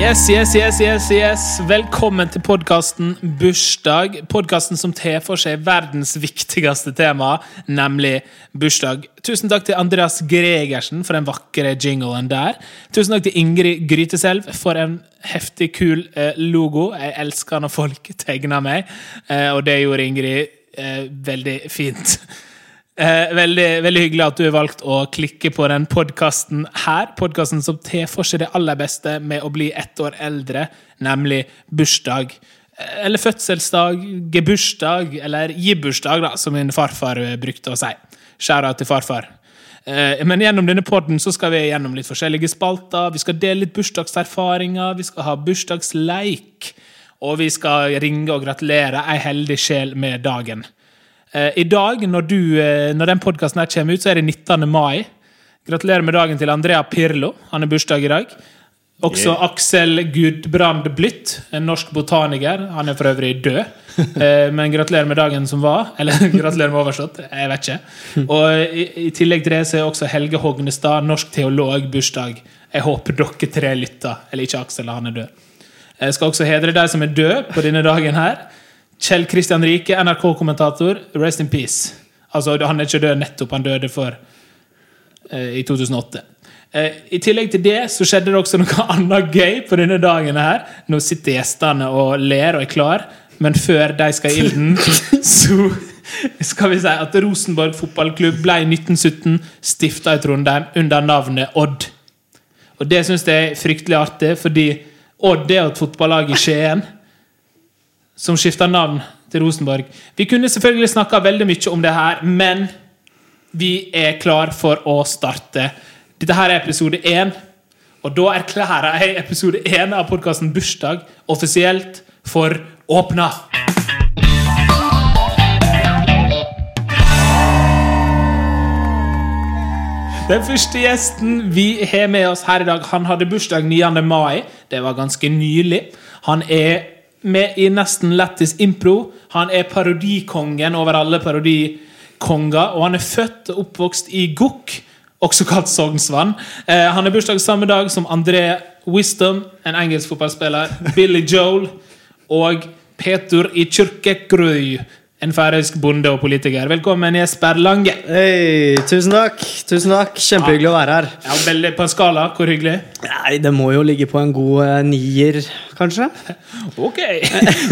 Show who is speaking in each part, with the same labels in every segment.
Speaker 1: Yes, yes, yes, yes, yes. Velkommen til podkasten Bursdag. Podkasten som tar for seg verdens viktigste tema, nemlig bursdag. Tusen takk til Andreas Gregersen for den vakre jinglen der. Tusen takk til Ingrid Gryteselv for en heftig, kul eh, logo. Jeg elsker når folk tegner meg, eh, og det gjorde Ingrid eh, veldig fint. Eh, veldig, veldig hyggelig at du har valgt å klikke på den podkasten her. Podkasten som tar for seg det aller beste med å bli ett år eldre, nemlig bursdag. Eh, Eller fødselsdag, gebursdag, eller gibbursdag, da, som min farfar eh, brukte å si. Skjæra til farfar. Eh, Men gjennom denne podden så skal vi gjennom litt forskjellige spalter. Vi skal dele litt bursdagserfaringer, vi skal ha bursdagsleik. Og vi skal ringe og gratulere ei heldig sjel med dagen. Eh, I dag, når, du, eh, når den podkasten her kommer ut, så er det 19. mai. Gratulerer med dagen til Andrea Pirlo. Han har bursdag i dag. Også
Speaker 2: Yeah.
Speaker 1: Aksel Gudbrand Blytt, en norsk botaniker. Han er for øvrig død. Eh, Men gratulerer med dagen som var. Eller gratulerer med overstått. Jeg vet ikke. Og i, i tillegg til det så er også Helge Hognestad, norsk teolog, bursdag. Jeg håper dere tre lytter. Eller ikke Aksel, han er død. Jeg skal også hedre de som er døde på denne dagen her. Kjell Kristian Rike, NRK-kommentator. Rest in peace. Altså, han er ikke død nettopp, han døde for eh, i 2008. Eh, I tillegg til det så skjedde det også noe annet gøy på denne dagen her. Nå sitter gjestene og ler og er klar, men før de skal i ilden, så skal vi si at Rosenborg fotballklubb ble i 1917 stifta i Trondheim under navnet Odd. Og det syns jeg er fryktelig artig, fordi Odd er jo et fotballag i Skien som skifta navn til Rosenborg. Vi kunne selvfølgelig snakka veldig mye om det her, men vi er klar for å starte. Dette her er episode én, og da erklærer jeg episode én av podkasten Bursdag offisielt for åpna. Den første gjesten vi har med oss her i dag, han hadde bursdag 9. mai. Det var ganske nylig. Han er med i Nesten Lættis impro. Han er parodikongen over alle parodikonger. Og han er født og oppvokst i Gokk, også kalt Sognsvann. Eh, han har bursdag samme dag som André Wisdom, en engelsk fotballspiller, Billy Joel og Petur i Kyrkekrøy, en færøysk bonde og politiker. Velkommen, Jesper Lange.
Speaker 3: Hei, tusen takk. Tusen takk. Kjempehyggelig å være her.
Speaker 1: Ja, veldig På en skala, hvor hyggelig?
Speaker 3: Nei, Det må jo ligge på en god eh, nier, kanskje?
Speaker 1: Ok!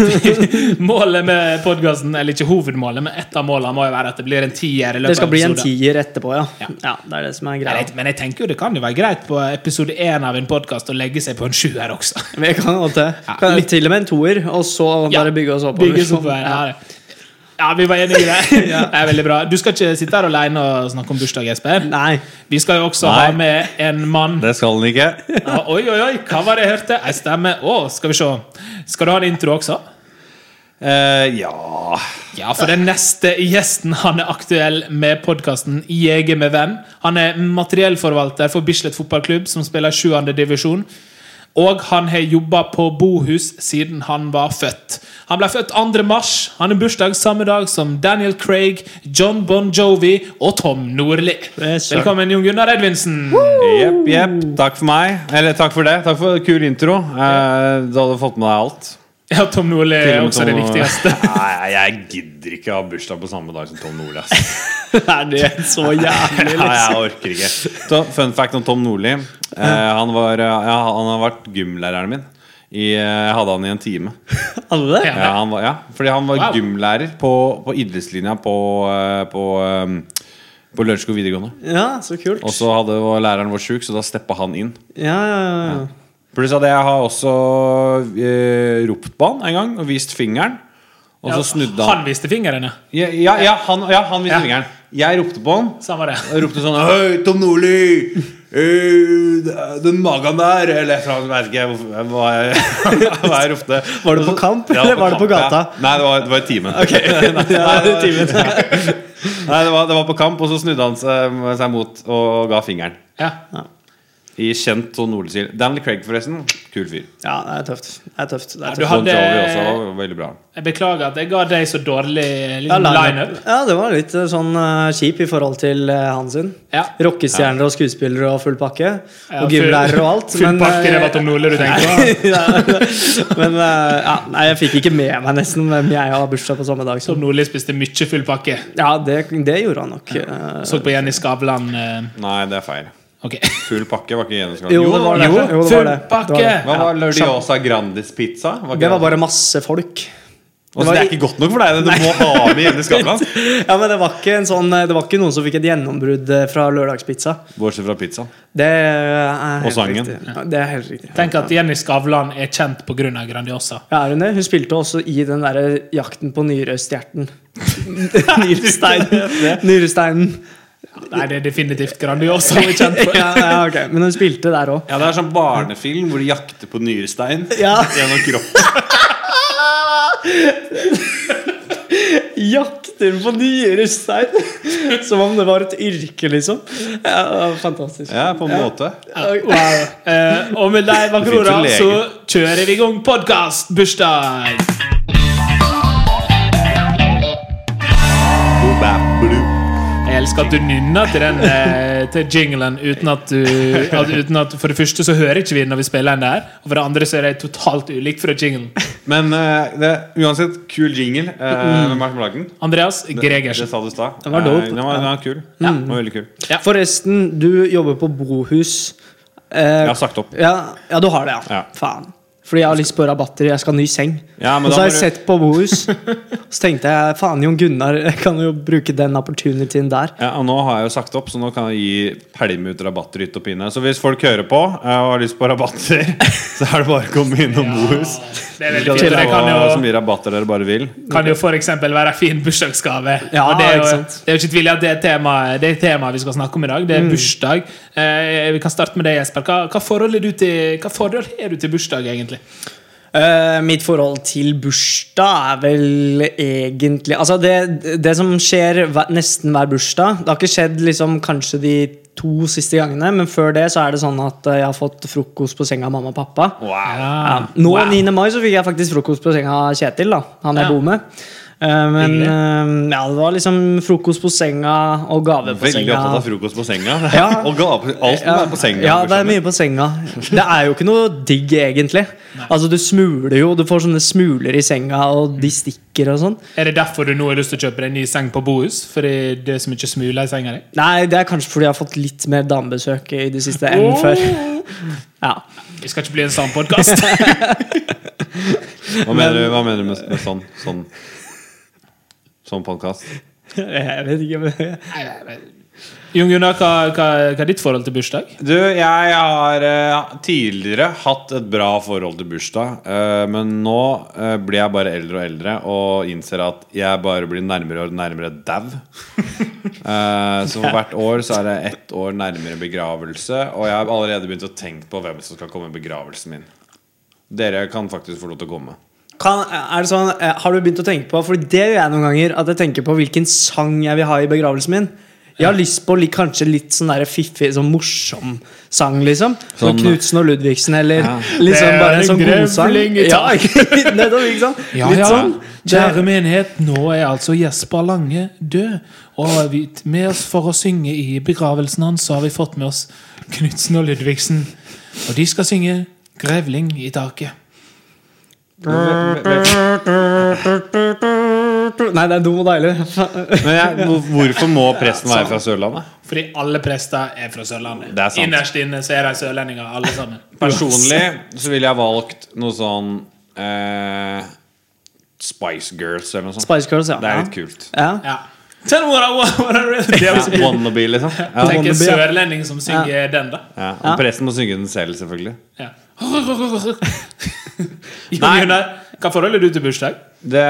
Speaker 1: målet med podkasten, eller ikke hovedmålet, men ett av målene må jo være at det blir en tier. i løpet
Speaker 3: Det skal
Speaker 1: av
Speaker 3: bli en
Speaker 1: episoden.
Speaker 3: tier etterpå, ja.
Speaker 1: Ja.
Speaker 3: Ja, Det er det som er
Speaker 1: Jeg
Speaker 3: greia.
Speaker 1: vet, men jeg tenker jo det kan jo være greit på episode én av en podkast å legge seg på en sjuer også.
Speaker 3: Vi kan godt det.
Speaker 1: Ja,
Speaker 3: Kan-
Speaker 1: litt-
Speaker 3: Til og med en toer, og så bare bygge oss liksom. oppover.
Speaker 1: Bygge oss oppover, ja. det. ja, vi var enige i det. Det er veldig bra. Du skal ikke sitte her alene og snakke om bursdag, Jesper.
Speaker 3: Nei.
Speaker 1: Vi skal jo også
Speaker 2: Nei.
Speaker 1: ha med en mann
Speaker 2: Det skal den ikke.
Speaker 1: Ja, Oi, oi, oi, hva var det jeg hørte? Ei stemme. Å, skal vi se. Skal du ha en intro også?
Speaker 2: Eh, ja
Speaker 1: Ja, for den neste gjesten han er aktuell med podkasten Jeger med venn. Han er materiellforvalter for Bislett fotballklubb, som spiller 7. divisjon. Og han har jobba på bohus siden han var født. Han ble født 2. mars. Han har bursdag samme dag som Daniel Craig, John Bon Jovi og Tom Nordli.
Speaker 3: Yes, sir.
Speaker 1: Velkommen, Jon Gunnar Edvinsen.
Speaker 2: Jepp, jepp. Takk for meg. Eller takk for det. Takk for kul intro. Eh, du hadde fått med deg alt.
Speaker 1: Ja, Tom Nordli
Speaker 2: Til
Speaker 1: er
Speaker 2: og med
Speaker 1: også
Speaker 2: Tom-
Speaker 1: det viktigste.
Speaker 2: Nei, jeg gidder ikke å ha bursdag på samme dag som Tom Nordli. ass.
Speaker 3: Er det så jævlig,
Speaker 2: Nei,
Speaker 3: liksom?
Speaker 2: jeg orker ikke. Så, fun fact om Tom Nordli. Eh, han, var, eh, ja, han har vært gymlæreren min. I, eh, jeg hadde han i en time.
Speaker 3: Alle?
Speaker 1: Ja.
Speaker 2: Ja, han var, ja, fordi han var
Speaker 1: Wow.
Speaker 2: gymlærer på, på idrettslinja på, eh, på, eh, på Lørenskog videregående.
Speaker 3: Ja, så kult.
Speaker 2: Og så hadde var læreren vår sjuk, så da steppa han inn.
Speaker 3: Ja, ja, ja.
Speaker 2: Pluss at jeg har også eh, ropt på han en gang og vist fingeren. Og så snudde han.
Speaker 1: Han viste fingrene.
Speaker 2: Ja, ja, ja, han, ja, han viste
Speaker 1: Ja.
Speaker 2: fingeren. Jeg ropte på han.
Speaker 1: Samme det.
Speaker 2: Og ropte sånn Hei, Tom Nordli! eh, Den magen der Eller fra, jeg vet ikke hvorfor- hva jeg, hva jeg ropte.
Speaker 3: Var det på
Speaker 2: Og så-
Speaker 3: kamp,
Speaker 2: Ja,
Speaker 3: eller var det på
Speaker 2: kamp,
Speaker 3: gata?
Speaker 2: Ja. Nei, det var, det var i timen.
Speaker 3: Ja, det er timen.
Speaker 2: Nei, det var, det var på kamp, og så snudde han seg, seg mot og ga fingeren.
Speaker 1: Ja.
Speaker 2: i kjent sånn nordstil. Daniel Craig, forresten. Kul fyr.
Speaker 3: Ja, det er tøft. Det er tøft. Det er
Speaker 1: Du
Speaker 3: tøft.
Speaker 1: hadde-
Speaker 2: Bon Jovi også. Veldig bra.
Speaker 1: Jeg beklager at jeg ga deg så dårlig
Speaker 3: Ja,
Speaker 1: liten lineup.
Speaker 3: Ja, det var litt eh, sånn eh, kjip i forhold til eh, han sin.
Speaker 1: Ja.
Speaker 3: Rockestjerner og skuespillere og full pakke.
Speaker 1: Ja,
Speaker 3: og
Speaker 1: full-
Speaker 3: gymlærer og alt.
Speaker 1: Full pakke,
Speaker 3: eh,
Speaker 1: det var Tom Nordli du tenkte på?
Speaker 3: ja, men eh, ja, nei, jeg fikk ikke med meg nesten hvem jeg har bursdag på samme dag som.
Speaker 1: Tom Nordli spiste mye full pakke.
Speaker 3: Ja, det, det gjorde han nok. eh.
Speaker 1: Så på Jenny Skavlan. eh,
Speaker 2: Nei, det er feil.
Speaker 1: Ok.
Speaker 2: Full pakke var ikke Jenny Skavlan.
Speaker 3: Jo, det var det.
Speaker 1: jo,
Speaker 3: Jo, det
Speaker 1: full
Speaker 3: var det.
Speaker 1: pakke!
Speaker 3: Det var det.
Speaker 2: Hva var Lurdiosa Grandis pizza? Var ikke
Speaker 3: Det var bare masse folk.
Speaker 2: Og så det er ikke godt nok for deg, det. du må ha med Jenny Skavlan.
Speaker 3: ja, men det var ikke, en sånn, det var ikke noen som fikk et gjennombrudd eh, fra lørdagspizza.
Speaker 2: Bortsett fra pizzaen.
Speaker 3: Det er
Speaker 2: Og sangen.
Speaker 3: riktig. Ja, Det er helt riktig.
Speaker 1: Tenk at Jenny Skavlan er kjent pga. Grandiosa.
Speaker 3: Ja, er hun det? Hun spilte også i den derre Jakten på Nyrestjerten. Nyresteinen. Nyresteinen.
Speaker 1: Nei, det er definitivt Grandiosa hun er kjent for.
Speaker 3: Ja, ja, ok. Men hun spilte der òg.
Speaker 2: Ja, det er sånn barnefilm hvor de jakter på nyrestein
Speaker 3: Ja.
Speaker 2: gjennom kroppen.
Speaker 3: Jakter på nyrestein! Som om det var et yrke, liksom. Ja, det var fantastisk.
Speaker 2: Ja, på en måte.
Speaker 3: Ok.
Speaker 1: Eh, og med de vakrora
Speaker 2: Det finnes jo
Speaker 1: så kjører vi i gang podkast bursdag! Jeg elsker at du nynner til den eh, til jinglen uten at du at, uten at, For det første så hører ikke vi den når vi spiller den der, og for det andre så er det totalt ulikt fra jinglen.
Speaker 2: Men eh, det er uansett kul jingle. eh,
Speaker 3: Mm.
Speaker 2: Hvem er det som lagde den?
Speaker 1: Andreas
Speaker 2: Det
Speaker 1: Gregersen.
Speaker 2: sa du i stad.
Speaker 3: var dope.
Speaker 2: Eh, Den var, den var kul. Den var veldig kul.
Speaker 1: Ja.
Speaker 3: Forresten, du jobber på Bohus. Eh,
Speaker 2: Jeg har sagt opp.
Speaker 3: ja, ja, du har det, ja.
Speaker 2: Ja.
Speaker 3: Faen. Fordi jeg har lyst på rabatter. Jeg skal ha ny seng.
Speaker 2: Ja,
Speaker 3: og
Speaker 2: men da
Speaker 3: så har jeg
Speaker 2: må du-
Speaker 3: sett på Bohus. Så tenkte jeg faen, Jon Gunnar jeg kan jo bruke den opportunityen der.
Speaker 2: Ja, og nå har jeg jo sagt opp, så nå kan jeg gi pælme ut rabatter hytt og pinne. Så hvis folk hører på eh, og har lyst på rabatter, så er det bare å komme innom Bohus.
Speaker 1: Ah, Det er veldig
Speaker 2: Dere
Speaker 1: fint. og
Speaker 2: kan
Speaker 1: Det
Speaker 2: få
Speaker 1: kan
Speaker 2: Så
Speaker 1: jo,
Speaker 2: mye rabatter dere bare vil.
Speaker 1: kan jo for eksempel være en fin bursdagsgave.
Speaker 3: Ja,
Speaker 1: og det er, jo,
Speaker 3: ikke sant.
Speaker 1: det er jo ikke tvil i at det er temaet det er temaet vi skal snakke om i dag. Det er bursdag. Eh, vi kan starte med deg, Jesper. Hva, hva, forhold er du til, hva forhold er du til bursdag, egentlig?
Speaker 3: Eh, mitt forhold til bursdag er vel egentlig Altså, det, det som skjer hver, nesten hver bursdag Det har ikke skjedd liksom kanskje de to siste gangene, men før det så er det sånn at eh, jeg har fått frokost på senga av mamma og pappa.
Speaker 2: Wow.
Speaker 3: Ja.
Speaker 1: Ah,
Speaker 3: Nå
Speaker 1: wow.
Speaker 3: 9. mai så fikk jeg faktisk frokost på senga av Kjetil, da. han jeg
Speaker 1: Ja.
Speaker 3: bor med. Eh, men
Speaker 1: Hyggelig.
Speaker 3: eh, ja, det var liksom frokost på senga og gave på
Speaker 2: Veldig
Speaker 3: senga.
Speaker 2: opptatt av frokost på senga.
Speaker 3: Ja.
Speaker 2: og gaver. Alt må
Speaker 3: Ja,
Speaker 2: være på senga.
Speaker 3: ja, det er
Speaker 2: skjønner.
Speaker 3: mye på senga. Det er jo ikke noe digg, egentlig. Altså, Du smuler jo. Du får sånne smuler i senga, og de stikker og sånn.
Speaker 1: Er det derfor du nå har lyst til å kjøpe deg en ny seng på Bohus? Fordi det er så mye smuler i senga di?
Speaker 3: Nei, det er kanskje fordi jeg har fått litt mer damebesøk i det siste enn før. Ja.
Speaker 1: Vi skal ikke bli en sånn podkast.
Speaker 2: Hva mener, du, hva mener du med, med sånn Sånn, sånn podkast?
Speaker 3: Jeg vet ikke men...
Speaker 1: Jon Gunnar, hva, hva, hva er ditt forhold til bursdag?
Speaker 2: Du, jeg har eh, tidligere hatt et bra forhold til bursdag. eh, men nå eh, blir jeg bare eldre og eldre og innser at jeg bare blir nærmere og nærmere dau. Eh, så for hvert år så er det ett år nærmere begravelse. Og jeg har allerede begynt å tenke på hvem som skal komme i begravelsen min. Dere kan faktisk få lov til å komme.
Speaker 3: Kan, er det sånn, eh, har du begynt å tenke på For det gjør jeg noen ganger. At jeg tenker på hvilken sang jeg vil ha i begravelsen min. Jeg har lyst på litt, kanskje litt sånn der fiffig, sånn morsom sang, liksom. Sånn
Speaker 2: Sånn-
Speaker 3: Knutsen og Ludvigsen, eller
Speaker 1: Det
Speaker 3: liksom
Speaker 1: er
Speaker 3: bare en sånn
Speaker 1: en
Speaker 3: godsang.
Speaker 1: grevling i
Speaker 3: Ja, ikke- nettopp, ikke sant? Litt sånn.
Speaker 1: Kjære menighet, nå er altså Jesper Lange død. Og vi, med oss for å synge i begravelsen hans, så har vi fått med oss Knutsen og Ludvigsen. Og de skal synge 'Grevling i taket'.
Speaker 3: Nei, det er dum og deilig.
Speaker 2: Men jeg, hvor- hvorfor må presten være fra Sørlandet?
Speaker 1: Fordi alle prester er fra Sørlandet.
Speaker 2: Det er sant.
Speaker 1: Innerst inne så er de sørlendinger, alle sammen.
Speaker 2: Personlig så ville jeg valgt noe sånn eh, Spice Girls eller noe sånt.
Speaker 3: Spice Girls, ja.
Speaker 2: Det er litt kult.
Speaker 3: Ja.
Speaker 1: Ja. Tell me what I want, what I really
Speaker 2: Ja,
Speaker 1: want.
Speaker 2: wannabe, liksom. Ja.
Speaker 1: Tenk en
Speaker 3: wannabe, ja.
Speaker 1: sørlending som synger den, da.
Speaker 2: Ja. Og presten må synge den selv, selvfølgelig.
Speaker 1: Ja. Jon Gunnar, hva forhold er du til bursdag?
Speaker 2: Det,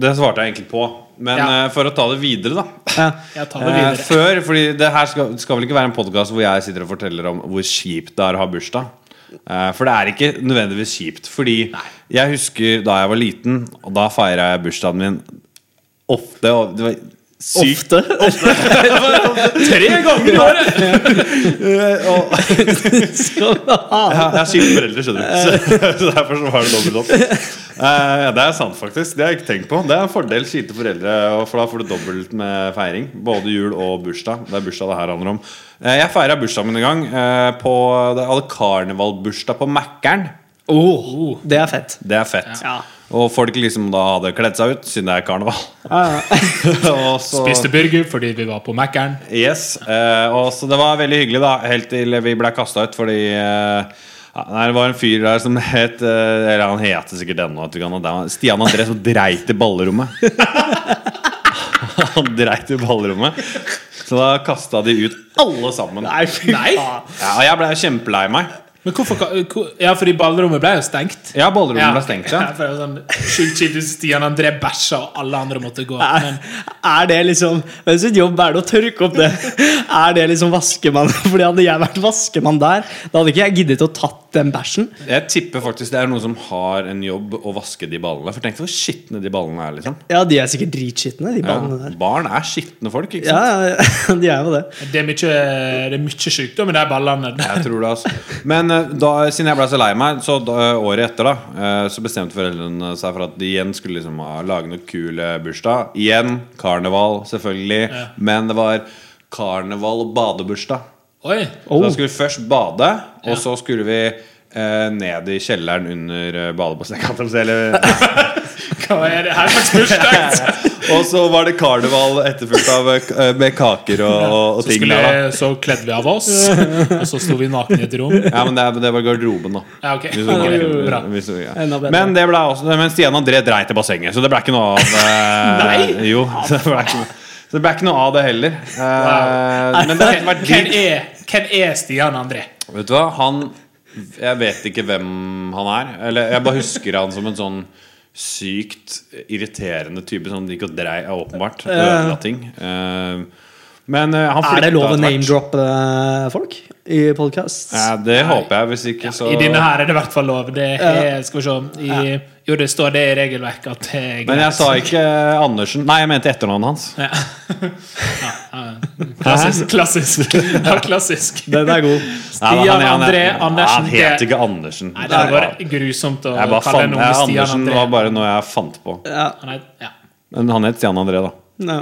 Speaker 2: det svarte jeg egentlig på. Men
Speaker 1: Ja.
Speaker 2: eh, for å ta det videre, da.
Speaker 3: Ja.
Speaker 1: Jeg tar det
Speaker 2: Eh,
Speaker 1: videre.
Speaker 2: før, fordi det her skal, skal vel ikke være en podkast hvor jeg sitter og forteller om hvor kjipt det er å ha bursdag. Eh, for det er ikke nødvendigvis kjipt. Fordi jeg husker da jeg var liten, og da feira jeg bursdagen min ofte. Og det var sykt
Speaker 3: Ofte.
Speaker 1: Tre ganger i året!
Speaker 2: Eh, og,
Speaker 3: Skal du ha.
Speaker 2: ja, Jeg har syke foreldre, skjønner du. Så, så derfor så var det dobbelt opp. Eh, det er sant, faktisk. Det har jeg ikke tenkt på. Det er en fordel skilte foreldre, og for da får du dobbelt med feiring. Både jul og bursdag. Det er bursdag det her handler om. Eh, jeg feira bursdagen min en gang. eh, på, det hadde karnevalbursdag på Mækkern.
Speaker 1: Oh.
Speaker 3: Det er fett.
Speaker 2: Det er fett.
Speaker 3: Ja.
Speaker 2: Og folk liksom da hadde kledd seg ut, siden det er karneval. og så,
Speaker 1: Spiste burger fordi vi var på Mækkern.
Speaker 2: Yes, eh, og så det var veldig hyggelig da Helt til vi ble kastet ut Fordi eh, ja, nei, det var en fyr der som het eh, Eller han heter sikkert ennå vet du ikke han, det var Stian André som dreit i ballrommet Han dreit i ballrommet Så da kastet de ut alle sammen
Speaker 3: Nei, fy
Speaker 1: Nei.
Speaker 3: faen.
Speaker 2: ja, og Jeg ble kjempelei meg
Speaker 1: Men hvorfor ka- hvor- Ja, fordi ballrommet ble jo stengt.
Speaker 2: Ja, ballrommet
Speaker 1: Ja.
Speaker 2: ble stengt ja.
Speaker 1: Ja, for det var sånn, Skyld kilde Stian André bæsja, og alle andre måtte gå.
Speaker 3: Er,
Speaker 1: Men
Speaker 3: er det liksom Hvem sitt jobb er det å tørke opp det? Er det liksom vaskemann? Fordi Hadde jeg vært vaskemann der, da hadde ikke jeg giddet å tatt den bæsjen.
Speaker 2: Jeg tipper faktisk det er noen som har en jobb Å vaske de ballene For tenk hvor skittende de ballene er liksom
Speaker 3: Ja, de er sikkert dritskitne, de
Speaker 2: ja.
Speaker 3: ballene der.
Speaker 2: Barn er skittende folk, ikke sant?
Speaker 3: Ja, ja, de er jo det.
Speaker 1: det er mye, det er mye sykdom i de ballene.
Speaker 2: Jeg tror det, altså. Men eh, da, siden jeg ble så lei meg, så da, året etter da eh, så bestemte foreldrene seg for at de igjen skulle liksom ha- lage noe kul eh, bursdag. Igjen karneval, selvfølgelig. Men det var karneval og badebursdag.
Speaker 1: Oi!
Speaker 2: Så
Speaker 3: Oh.
Speaker 2: da skulle vi først bade, og så skulle vi eh, ned i kjelleren under eh, badebassenget. kan jeg si, eller-
Speaker 1: Hva er det her slags bursdag?
Speaker 2: og så var det karneval etterfulgt av eh, med kaker og, og, og
Speaker 1: Så,
Speaker 2: ting der, da.
Speaker 1: skulle, så kledde vi av oss, og så sto vi nakne i et rom.
Speaker 2: Ja, men det, er- det var garderoben, da.
Speaker 1: Ja, ok.
Speaker 2: Vi så
Speaker 1: Ok,
Speaker 2: ikke-
Speaker 1: Bra.
Speaker 2: vi så ikke.
Speaker 3: Enda bedre.
Speaker 2: Men, det ble også, men Stian André dreit i bassenget, så det ble ikke noe av eh,
Speaker 1: Nei!
Speaker 2: Jo, så det ble ikke noe så det ble ikke noe av det heller. Eh, Men det hadde vært
Speaker 1: Hvem
Speaker 2: digg.
Speaker 1: er, hvem er Stian André?
Speaker 2: Vet du hva, han Jeg vet ikke hvem han er. Eller jeg bare husker han som en sånn sykt irriterende type som gikk og drei ja, åpenbart. Ødela ting. Eh, Men eh, han
Speaker 3: Er det lov å
Speaker 2: flytta etter hvert.
Speaker 3: name-droppe folk i podkast?
Speaker 2: Ja, det håper jeg, hvis ikke så
Speaker 1: I denne her er det i hvert fall lov. Det er, skal vi se I, Jo, det står det i regelverket at det er
Speaker 2: Men
Speaker 1: greit.
Speaker 2: jeg sa ikke eh, Andersen. Nei, jeg mente etternavnet hans.
Speaker 1: Ja. Ja, ja. Klassisk. klassisk. Ja, klassisk.
Speaker 3: Den er god.
Speaker 1: Stian
Speaker 2: Nei, men han- han-
Speaker 1: André
Speaker 2: han-
Speaker 1: Andersen,
Speaker 2: Han het
Speaker 1: det-
Speaker 2: ikke Andersen.
Speaker 1: Nei, det hadde vært grusomt å
Speaker 2: jeg bare
Speaker 1: kalle
Speaker 2: fant,
Speaker 1: noen
Speaker 2: jeg,
Speaker 1: med Stian
Speaker 2: Andersen
Speaker 1: André.
Speaker 2: var bare noe jeg fant på.
Speaker 3: Ja.
Speaker 1: Han er, ja.
Speaker 2: Men han het Stian André, da.
Speaker 3: Ja.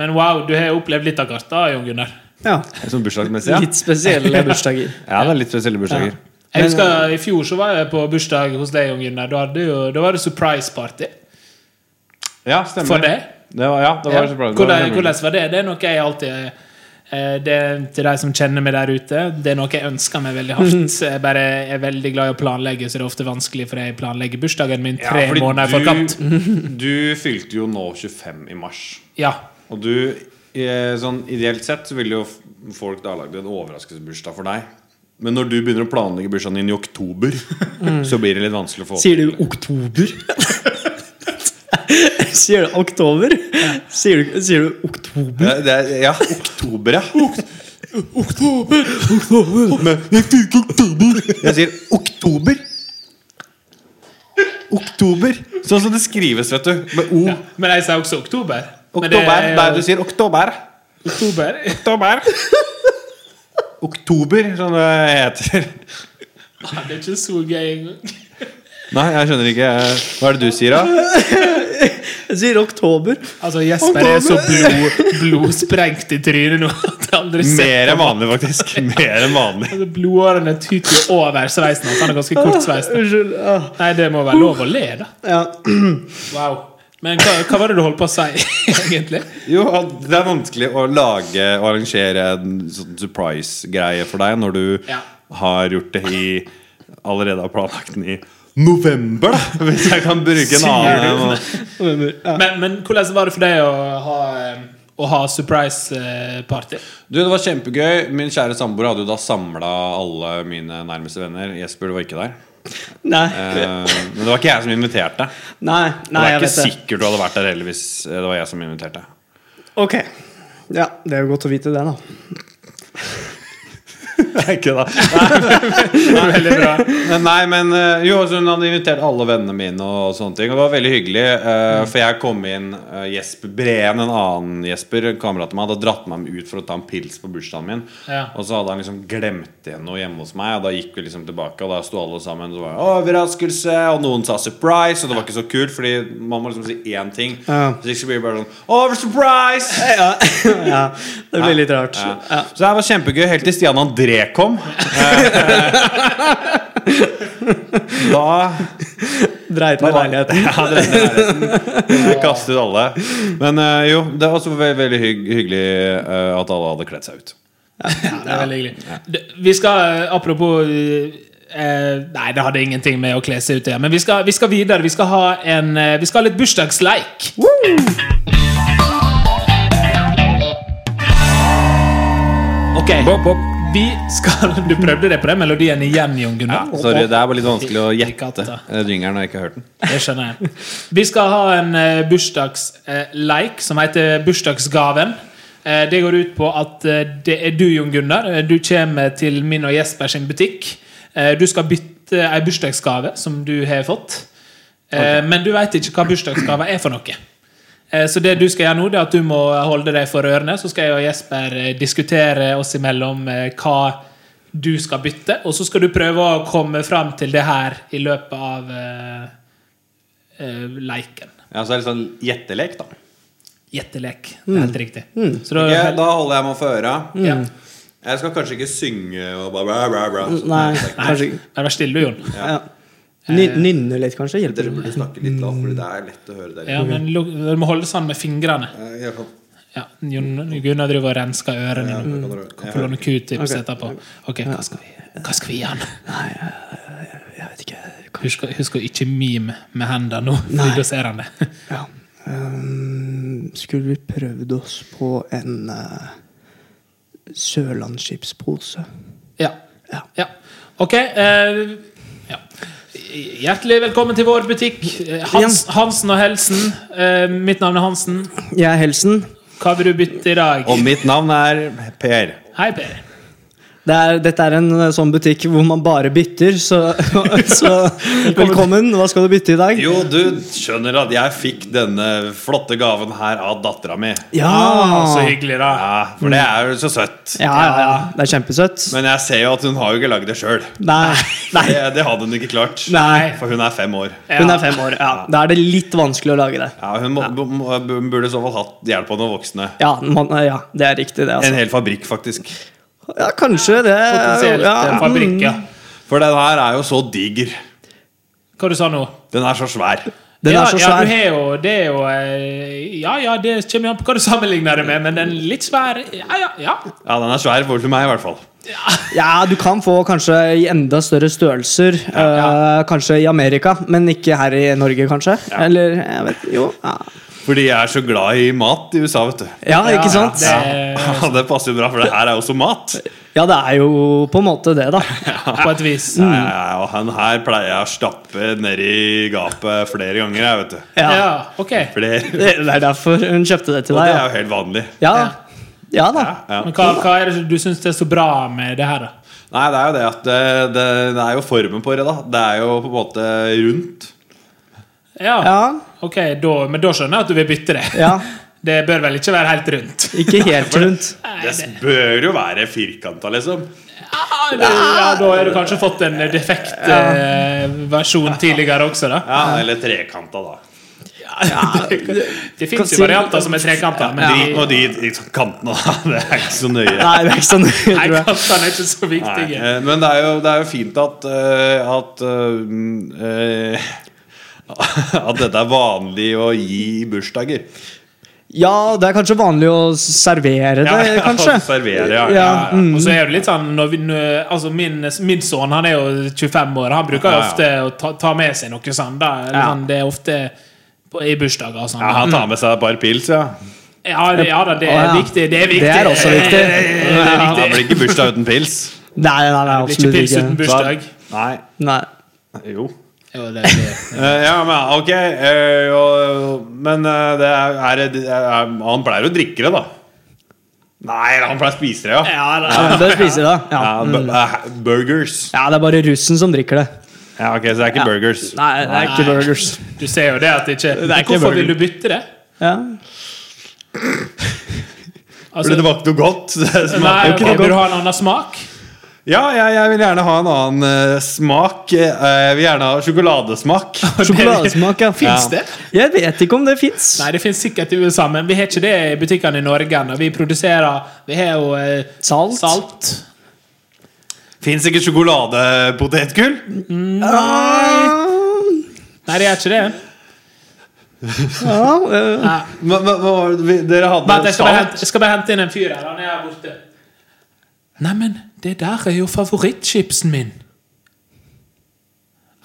Speaker 1: Men wow, du har opplevd litt av karta, Jon Gunnar.
Speaker 3: ja.
Speaker 2: Som sånn bursdagsmessig, ja.
Speaker 3: Litt spesielle bursdager.
Speaker 2: ja. Det er litt spesielle bursdager.
Speaker 1: Jeg husker I fjor så var jeg på bursdag hos deg, Jon Gunnar. Da, hadde jo, da var det surprise party
Speaker 2: Ja, stemmer.
Speaker 1: for deg.
Speaker 2: Det var, ja, det var
Speaker 1: Ja. Hvordan,
Speaker 2: surprise. Det var-
Speaker 1: hvordan var det? Det er noe jeg alltid eh, det, Til de som kjenner meg der ute, det er noe jeg ønsker meg veldig
Speaker 2: Mm.
Speaker 1: hardt. Jeg bare er veldig glad i å planlegge, så det er ofte vanskelig for jeg planlegger bursdagen min tre
Speaker 2: fordi
Speaker 1: måneder i forkant.
Speaker 2: du, du fylte jo nå 25 i mars.
Speaker 1: Ja.
Speaker 2: Og du, eh, sånn ideelt sett, så ville jo f- folk da lagd en overraskelsesbursdag for deg. Men når du begynner å planlegge bursdagen din i oktober, så blir det litt vanskelig å få
Speaker 3: Sier du oktober? Sier du oktober? Sier du, sier du oktober?
Speaker 2: Ja, Eh, det er, ja, oktober, ja.
Speaker 1: Oktober!
Speaker 2: Jeg sier oktober. Oktober. Sånn som det skrives, vet du. Med O.
Speaker 1: Men jeg sier også oktober. Men det
Speaker 2: Oktober.
Speaker 1: er jo
Speaker 2: Nei, du sier oktober.
Speaker 1: oktober.
Speaker 2: Oktober. Oktober, som det heter.
Speaker 1: Ja, Det er ikke så gøy engang.
Speaker 2: Nei, jeg skjønner ikke. Hva er det du sier, da?
Speaker 3: Jeg sier oktober.
Speaker 1: Altså, Jesper er så blod, blodsprengt i trynet nå at jeg aldri ser
Speaker 2: Mer enn vanlig, faktisk. Mer enn vanlig.
Speaker 1: Altså, Blodårene tyter jo over sveisen hans. Han er ganske kort sveist.
Speaker 3: Unnskyld. ah,
Speaker 1: Nei, det må være lov å le, da.
Speaker 3: Ja.
Speaker 1: Wow. Men hva, hva var det du holdt på å si, egentlig?
Speaker 2: Jo, at det er vanskelig å lage og arrangere en sånn surprise-greie for deg når du
Speaker 1: Ja.
Speaker 2: har gjort det i Allerede har planlagt den i november, da! Hvis jeg kan bruke en annen
Speaker 3: Ja.
Speaker 1: Men, men hvordan var det for deg å ha, eh, å ha surprise eh, party?
Speaker 2: Du, Det var kjempegøy. Min kjære samboer hadde jo da samla alle mine nærmeste venner. Jesper var ikke der.
Speaker 3: Nei.
Speaker 2: Eh, men det var ikke jeg som inviterte.
Speaker 3: Nei,
Speaker 2: det
Speaker 3: nei,
Speaker 2: er
Speaker 3: jeg
Speaker 2: ikke
Speaker 3: vet det.
Speaker 2: sikkert du hadde vært der heller hvis eh, det var jeg som inviterte.
Speaker 3: Ok. Ja, det er jo godt å vite det, da.
Speaker 2: Nei, ikke da. Veldig bra. Men Nei, men eh, jo, altså, hun hadde invitert alle vennene mine og sånne ting. Og det var veldig hyggelig, eh, for jeg kom inn eh, Jesper Breen, en annen Jesper, kameraten min, hadde dratt meg med ut for å ta en pils på bursdagen min.
Speaker 1: Ja.
Speaker 2: Og så hadde han liksom glemt igjen noe hjemme hos meg, og da gikk vi liksom tilbake, og da sto alle sammen og så var det overraskelse, og noen sa surprise, og det var ikke så kult, fordi man må liksom si én ting.
Speaker 3: Ja.
Speaker 2: Så ikke så blir det bare sånn Over surprise!
Speaker 3: Ja, ja det blir litt rart.
Speaker 2: Ja.
Speaker 3: Ja.
Speaker 2: Så det her var kjempegøy helt til Stian André kom. da
Speaker 3: Dreit meg i leiligheten.
Speaker 2: ja, det er leiligheten. Vi kastet alle. Men eh, jo, det var også veldig, veldig hygg, hyggelig eh, at alle hadde kledd seg ut.
Speaker 1: Ja, det er veldig hyggelig. D- Vi skal, eh, apropos eh, eh, Nei, det hadde ingenting med å kle seg ut å gjøre, men vi skal, vi skal videre. Vi skal ha, en, eh, vi skal ha litt bursdagsleik. Ok,
Speaker 2: Bopp, bopp.
Speaker 1: vi skal Du prøvde deg på den melodien igjen, Jon
Speaker 2: Ja,
Speaker 1: Gunnar.
Speaker 2: sorry, det er bare litt vanskelig å gjette
Speaker 1: Rikatta.
Speaker 2: eh, ringeren når jeg ikke har hørt den.
Speaker 1: Det skjønner jeg. Vi skal ha en eh, bursdagsleik som heter Bursdagsgaven. Eh, Det går ut på at eh, det er du, Jon Gunnar. Eh, Du kommer til min og Jesper sin butikk. Eh, Du skal bytte ei bursdagsgave som du har fått. Eh, Men du veit ikke hva bursdagsgave er for noe. Eh, Så det du skal gjøre nå, det er at du må holde deg for ørene. Så skal jeg og Jesper eh, diskutere oss imellom eh, hva du skal bytte. Og så skal du prøve å komme fram til det her i løpet av eh, eh, leiken.
Speaker 2: Ja, så er det litt sånn gjettelek, da.
Speaker 1: Gjettelek. Det er helt riktig. Så da,
Speaker 2: Mm. Ok, da Mm. holder jeg meg for øra.
Speaker 1: ja.
Speaker 2: Jeg skal kanskje ikke synge og bare bla, bla, bla. sånn.
Speaker 3: Nei,
Speaker 1: Nei,
Speaker 3: kanskje ikke.
Speaker 1: men vær stille, du, Jon.
Speaker 3: Ja.
Speaker 2: Eh,
Speaker 3: Ny, nynne litt, kanskje? Hjelper
Speaker 2: Dere burde snakke litt lavt, Fordi det er lett å høre dere.
Speaker 1: Ja, men luk- du må holde sånn med fingrene.
Speaker 2: Eh, jeg kan-
Speaker 1: Ja, Jon Gunnar driver og rensker ørene nå.
Speaker 2: jeg kan dra-
Speaker 1: Mm. Kan få låne Q-tips etterpå. Ok, hva skal vi, hva skal vi gi han?
Speaker 3: Jeg vet ikke.
Speaker 1: Husk, å- husk å ikke mime med hendene nå,
Speaker 3: Nei.
Speaker 1: for da ser han det.
Speaker 3: Ja. Ehm, skulle vi prøvd oss på en uh, sørlandsskipspose?
Speaker 1: Ja.
Speaker 3: Ja.
Speaker 1: ja. Ok. eh, ja. Hjertelig velkommen til vår butikk. Eh, Hans, Hansen og Helsen. Eh, mitt navn er Hansen.
Speaker 3: Jeg er Helsen.
Speaker 1: Hva vil du bytte i dag?
Speaker 2: Og mitt navn er Per.
Speaker 1: Hei, Per.
Speaker 3: Det er, dette er en eh, sånn butikk hvor man bare bytter, så, så velkommen. Hva skal du bytte i dag?
Speaker 2: Jo, du skjønner at jeg fikk denne flotte gaven her av dattera mi.
Speaker 3: Ja.
Speaker 1: Ah, så hyggelig, da.
Speaker 2: Ja, for det er jo så søtt.
Speaker 3: ja, ja, ja. Det er kjempesøtt.
Speaker 2: Men jeg ser jo at hun har jo ikke lagd det sjøl.
Speaker 3: Nei. Nei.
Speaker 2: Det, det hadde hun ikke klart.
Speaker 3: Nei.
Speaker 2: For hun er fem år.
Speaker 3: Hun er fem år. Ja. Da er det litt vanskelig å lage det.
Speaker 2: Ja, hun, må, må- hun burde i så fall hatt hjelp av noen voksne.
Speaker 3: Ja, man, ja det er riktig, det.
Speaker 2: En
Speaker 3: Altså.
Speaker 2: hel fabrikk, faktisk.
Speaker 3: Ja, kanskje det. mm.
Speaker 1: Potensielt en fabrikk, ja.
Speaker 2: For den her er jo så diger.
Speaker 1: Hva du sa nå?
Speaker 2: Den er så svær.
Speaker 3: Den
Speaker 1: ja,
Speaker 3: er så
Speaker 1: Ja,
Speaker 3: svær.
Speaker 1: du har jo, det er jo eh, Ja ja, det kommer jo an på hva du sammenligner det med, men den litt svære Ja ja. ja.
Speaker 2: Ja, den er svær for til meg, i hvert fall.
Speaker 3: Ja, du kan få kanskje i enda større størrelser. eh, kanskje i Amerika, men ikke her i Norge, kanskje. Eller jeg vet Jo. Ja,
Speaker 2: Fordi jeg er så glad i mat i USA, vet du.
Speaker 3: ja ikke
Speaker 1: ja,
Speaker 3: sant?
Speaker 1: det-
Speaker 3: Eh,
Speaker 2: Ja, det passer jo bra, for det her er jo også mat.
Speaker 3: Ja, det er jo på en måte det, da.
Speaker 1: På et vis.
Speaker 2: Ja, ja, ja, og han her pleier jeg å stappe nedi gapet flere ganger, jeg, vet du.
Speaker 3: Ja.
Speaker 1: Ja, ok.
Speaker 2: Flere.
Speaker 3: Det det er derfor hun kjøpte det til
Speaker 2: Og det
Speaker 3: deg.
Speaker 2: er
Speaker 3: Ja,
Speaker 2: jo helt vanlig.
Speaker 3: ja. ja da.
Speaker 2: Ja.
Speaker 1: Men hva, hva er det du syns er så bra med det her, da?
Speaker 2: Nei, det er jo det at det, det, det er jo formen på det, da. Det er jo på en måte rundt.
Speaker 1: Ja,
Speaker 3: Ja,
Speaker 1: ok, da, Men da skjønner jeg at du vil bytte det.
Speaker 3: ja.
Speaker 1: Det bør vel ikke være helt rundt?
Speaker 3: Ikke helt rundt.
Speaker 2: Det bør jo være firkanta, liksom.
Speaker 1: Ja, det, ja, da har du kanskje fått en defekt eh, versjon tidligere også, da.
Speaker 2: Ja, Eller trekanta, da.
Speaker 1: Det, det fins jo varianter som er trekanter, men de,
Speaker 2: Drit nå de de kantene, da. Det er ikke så nøye.
Speaker 3: Nei, det er ikke sånn.
Speaker 1: nei,
Speaker 3: Tror jeg.
Speaker 1: kantene er ikke så
Speaker 2: Nei,
Speaker 1: viktige.
Speaker 2: eh, men det er jo, det er jo fint at eh, at, eh, mm, eh, at dette er vanlig å gi i bursdager.
Speaker 3: Ja, det er kanskje vanlig å servere det,
Speaker 2: Ja, ja,
Speaker 3: kanskje.
Speaker 2: servere, ja, ja,
Speaker 3: ja.
Speaker 2: ja.
Speaker 3: mm.
Speaker 1: Og så er det litt sånn når vi, nå- altså min, min sønn han er jo 25 år, han bruker jo
Speaker 2: Ja, ja.
Speaker 1: ofte å ta, ta med seg noe sånn. Da. Eller
Speaker 3: Ja.
Speaker 1: sånn, Det er ofte på, i bursdager og sånn.
Speaker 2: Ja,
Speaker 1: da.
Speaker 2: han tar med seg et par pils, ja.
Speaker 1: Ja, det, ja da, det
Speaker 3: Å,
Speaker 1: er
Speaker 3: ja.
Speaker 1: viktig. Det er viktig.
Speaker 3: Det er også viktig.
Speaker 1: Det er- det er
Speaker 2: Det blir
Speaker 1: viktig.
Speaker 2: ikke bursdag uten pils.
Speaker 3: Nei,
Speaker 1: Det
Speaker 3: nei, nei,
Speaker 1: blir ikke
Speaker 3: absolutt
Speaker 1: pils uten
Speaker 3: ikke.
Speaker 1: bursdag.
Speaker 2: Nei.
Speaker 3: Nei.
Speaker 2: Jo.
Speaker 1: Jo, det blir-
Speaker 2: Eh, ja, men ok. eh, jo, men eh, det er, er, det- er, han pleier å drikke det, da. Nei, han pleier å spise det, ja.
Speaker 3: Ja, det spiser det.
Speaker 2: ja
Speaker 3: Ja.
Speaker 2: bu- eh, burgers.
Speaker 3: ja, det er bare russen som drikker det.
Speaker 2: Ja, ok, Så det er ikke
Speaker 3: Ja.
Speaker 2: burgers.
Speaker 3: Nei, det er ikke
Speaker 1: Nei.
Speaker 3: burgers.
Speaker 1: Du ser jo det at det ikke,
Speaker 3: Det er ikke
Speaker 1: Hvorfor
Speaker 3: burger.
Speaker 1: vil du bytte det?
Speaker 3: Ja.
Speaker 1: Altså,
Speaker 2: Fordi det var ikke noe godt. Det
Speaker 1: nei,
Speaker 2: smaker jo
Speaker 1: ok,
Speaker 2: ikke noe
Speaker 1: Vil
Speaker 2: godt.
Speaker 1: du ha en annen smak?
Speaker 2: Ja, jeg, jeg vil gjerne ha en annen eh, smak. Eh, jeg vil gjerne ha sjokoladesmak.
Speaker 3: Sjokoladesmak, ja.
Speaker 1: Fins
Speaker 2: Ja.
Speaker 1: det?
Speaker 3: Jeg vet ikke om det fins.
Speaker 1: Nei, det fins sikkert i USA, men vi har ikke det i butikkene i Norge ennå. Vi produserer Vi har jo eh,
Speaker 3: Salt.
Speaker 1: salt.
Speaker 2: Fins ikke sjokoladepotetgull?
Speaker 1: Nei, det gjør ikke det.
Speaker 3: Ja, eh,
Speaker 1: Nei.
Speaker 2: Hva- hva- hva var det vi- Dere
Speaker 1: Vent,
Speaker 2: hadde
Speaker 1: jeg skal, bare hente,
Speaker 2: salt?
Speaker 1: jeg skal bare hente inn en fyr her. Han er her borte. Neimen, det der er jo favorittchipsen min.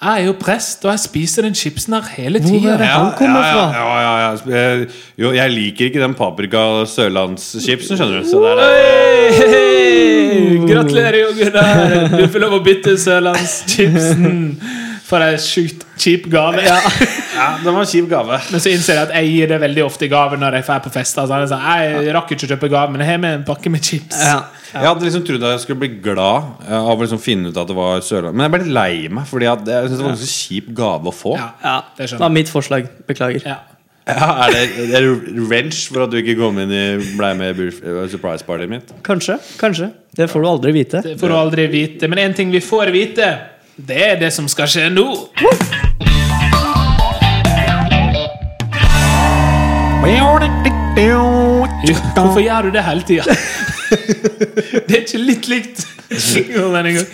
Speaker 1: Jeg er jo prest, og jeg spiser den chipsen her hele
Speaker 3: Hvor er
Speaker 1: tida.
Speaker 3: det? han kommer
Speaker 2: ja,
Speaker 3: fra.
Speaker 2: Ja, ja, ja, ja. Eh, Jo, jeg liker ikke den paprika sørlandschipsen, skjønner du. Så det er,
Speaker 1: Hei, Gratulerer, Jo Gunnar. Du får lov å bytte sørlandschipsen for ei sjukt kjip gave.
Speaker 2: ja, den var en kjip gave.
Speaker 1: Men så innser jeg at jeg gir det veldig ofte i gave når jeg drar på fester. Sånn. Jeg sa, Jeg rakk ikke å kjøpe gave, men jeg har med en pakke med chips.
Speaker 3: ja.
Speaker 2: Jeg hadde liksom trodd at jeg skulle bli glad eh, av å liksom finne ut at det var Sørland. Men jeg ble litt lei meg, Fordi at jeg synes det var en ganske kjip gave å få.
Speaker 1: Ja,
Speaker 3: ja.
Speaker 1: det
Speaker 3: Det var
Speaker 1: skjønner jeg.
Speaker 3: mitt forslag. Beklager.
Speaker 1: Ja.
Speaker 2: Ja, er det er det revenge for at du ikke kom inn i blei med i burs- eh, surprise-partyet mitt?
Speaker 3: Kanskje. Kanskje. Det får du aldri vite.
Speaker 1: Det får du aldri vite. Men én ting vi får vite, det er det som skal skje nå. Jo, Hvorfor gjør du det hele tida? Det er ikke litt likt. Jo, men en gang.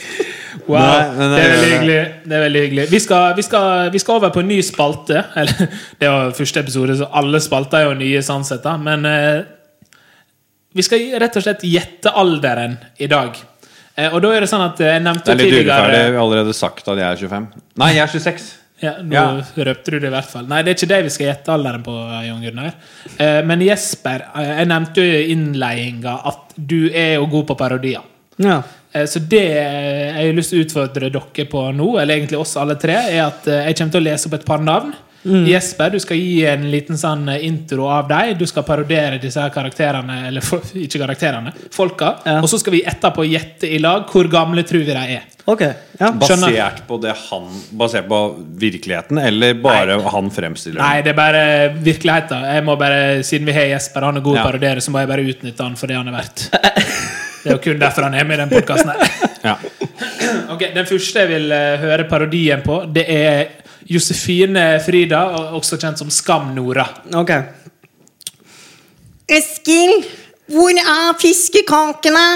Speaker 1: Wow,
Speaker 2: Nei,
Speaker 1: det,
Speaker 2: men det
Speaker 1: er
Speaker 2: gjør
Speaker 1: veldig
Speaker 2: det.
Speaker 1: hyggelig. det er veldig hyggelig. Vi skal, vi, skal, vi skal over på en ny spalte. Eller, det var første episode, så alle spalter er jo nye. sånn sett, da. Men eh, vi skal rett og slett gjette alderen i dag. Eh, og da er det sånn at eh, jeg nevnte
Speaker 2: Det er litt
Speaker 1: tidligere
Speaker 2: urettferdig. Vi har allerede sagt at jeg er 25. Nei, jeg er 26.
Speaker 1: ja, nå
Speaker 2: Ja.
Speaker 1: røpte du det i hvert fall. Nei, det er ikke det vi skal gjette alderen på. Jon Gunnar eh, Men Jesper, eh, jeg nevnte jo i innledninga at du er jo god på parodier.
Speaker 3: Ja.
Speaker 1: Eh, Så det eh, jeg har lyst til å utfordre dere på nå, eller egentlig oss alle tre, er at eh, jeg kommer til å lese opp et par navn. Jesper, du skal gi en liten sånn eh, intro av deg. Du skal parodiere disse her karakterene, eller fo- ikke karakterene, folka.
Speaker 3: Ja.
Speaker 1: Og så skal vi etterpå gjette i lag hvor gamle tror vi de er.
Speaker 3: Ok. Ja.
Speaker 1: Skjønner.
Speaker 2: Basert på det han Basert på virkeligheten, eller bare han fremstiller
Speaker 1: Nei, det er bare virkeligheten. Jeg må bare, Siden vi har Jesper, han er god til å
Speaker 2: Ja.
Speaker 1: parodiere, så må jeg bare utnytte han for det han er verdt. Det er jo kun derfor han er med i den podkasten her.
Speaker 2: Ja.
Speaker 1: Ok, Den første jeg vil eh, høre parodien på, det er Josefine Frida, og- også kjent som Skam-Nora.
Speaker 3: Ok.
Speaker 4: Eskil, hvor er fiskekakene?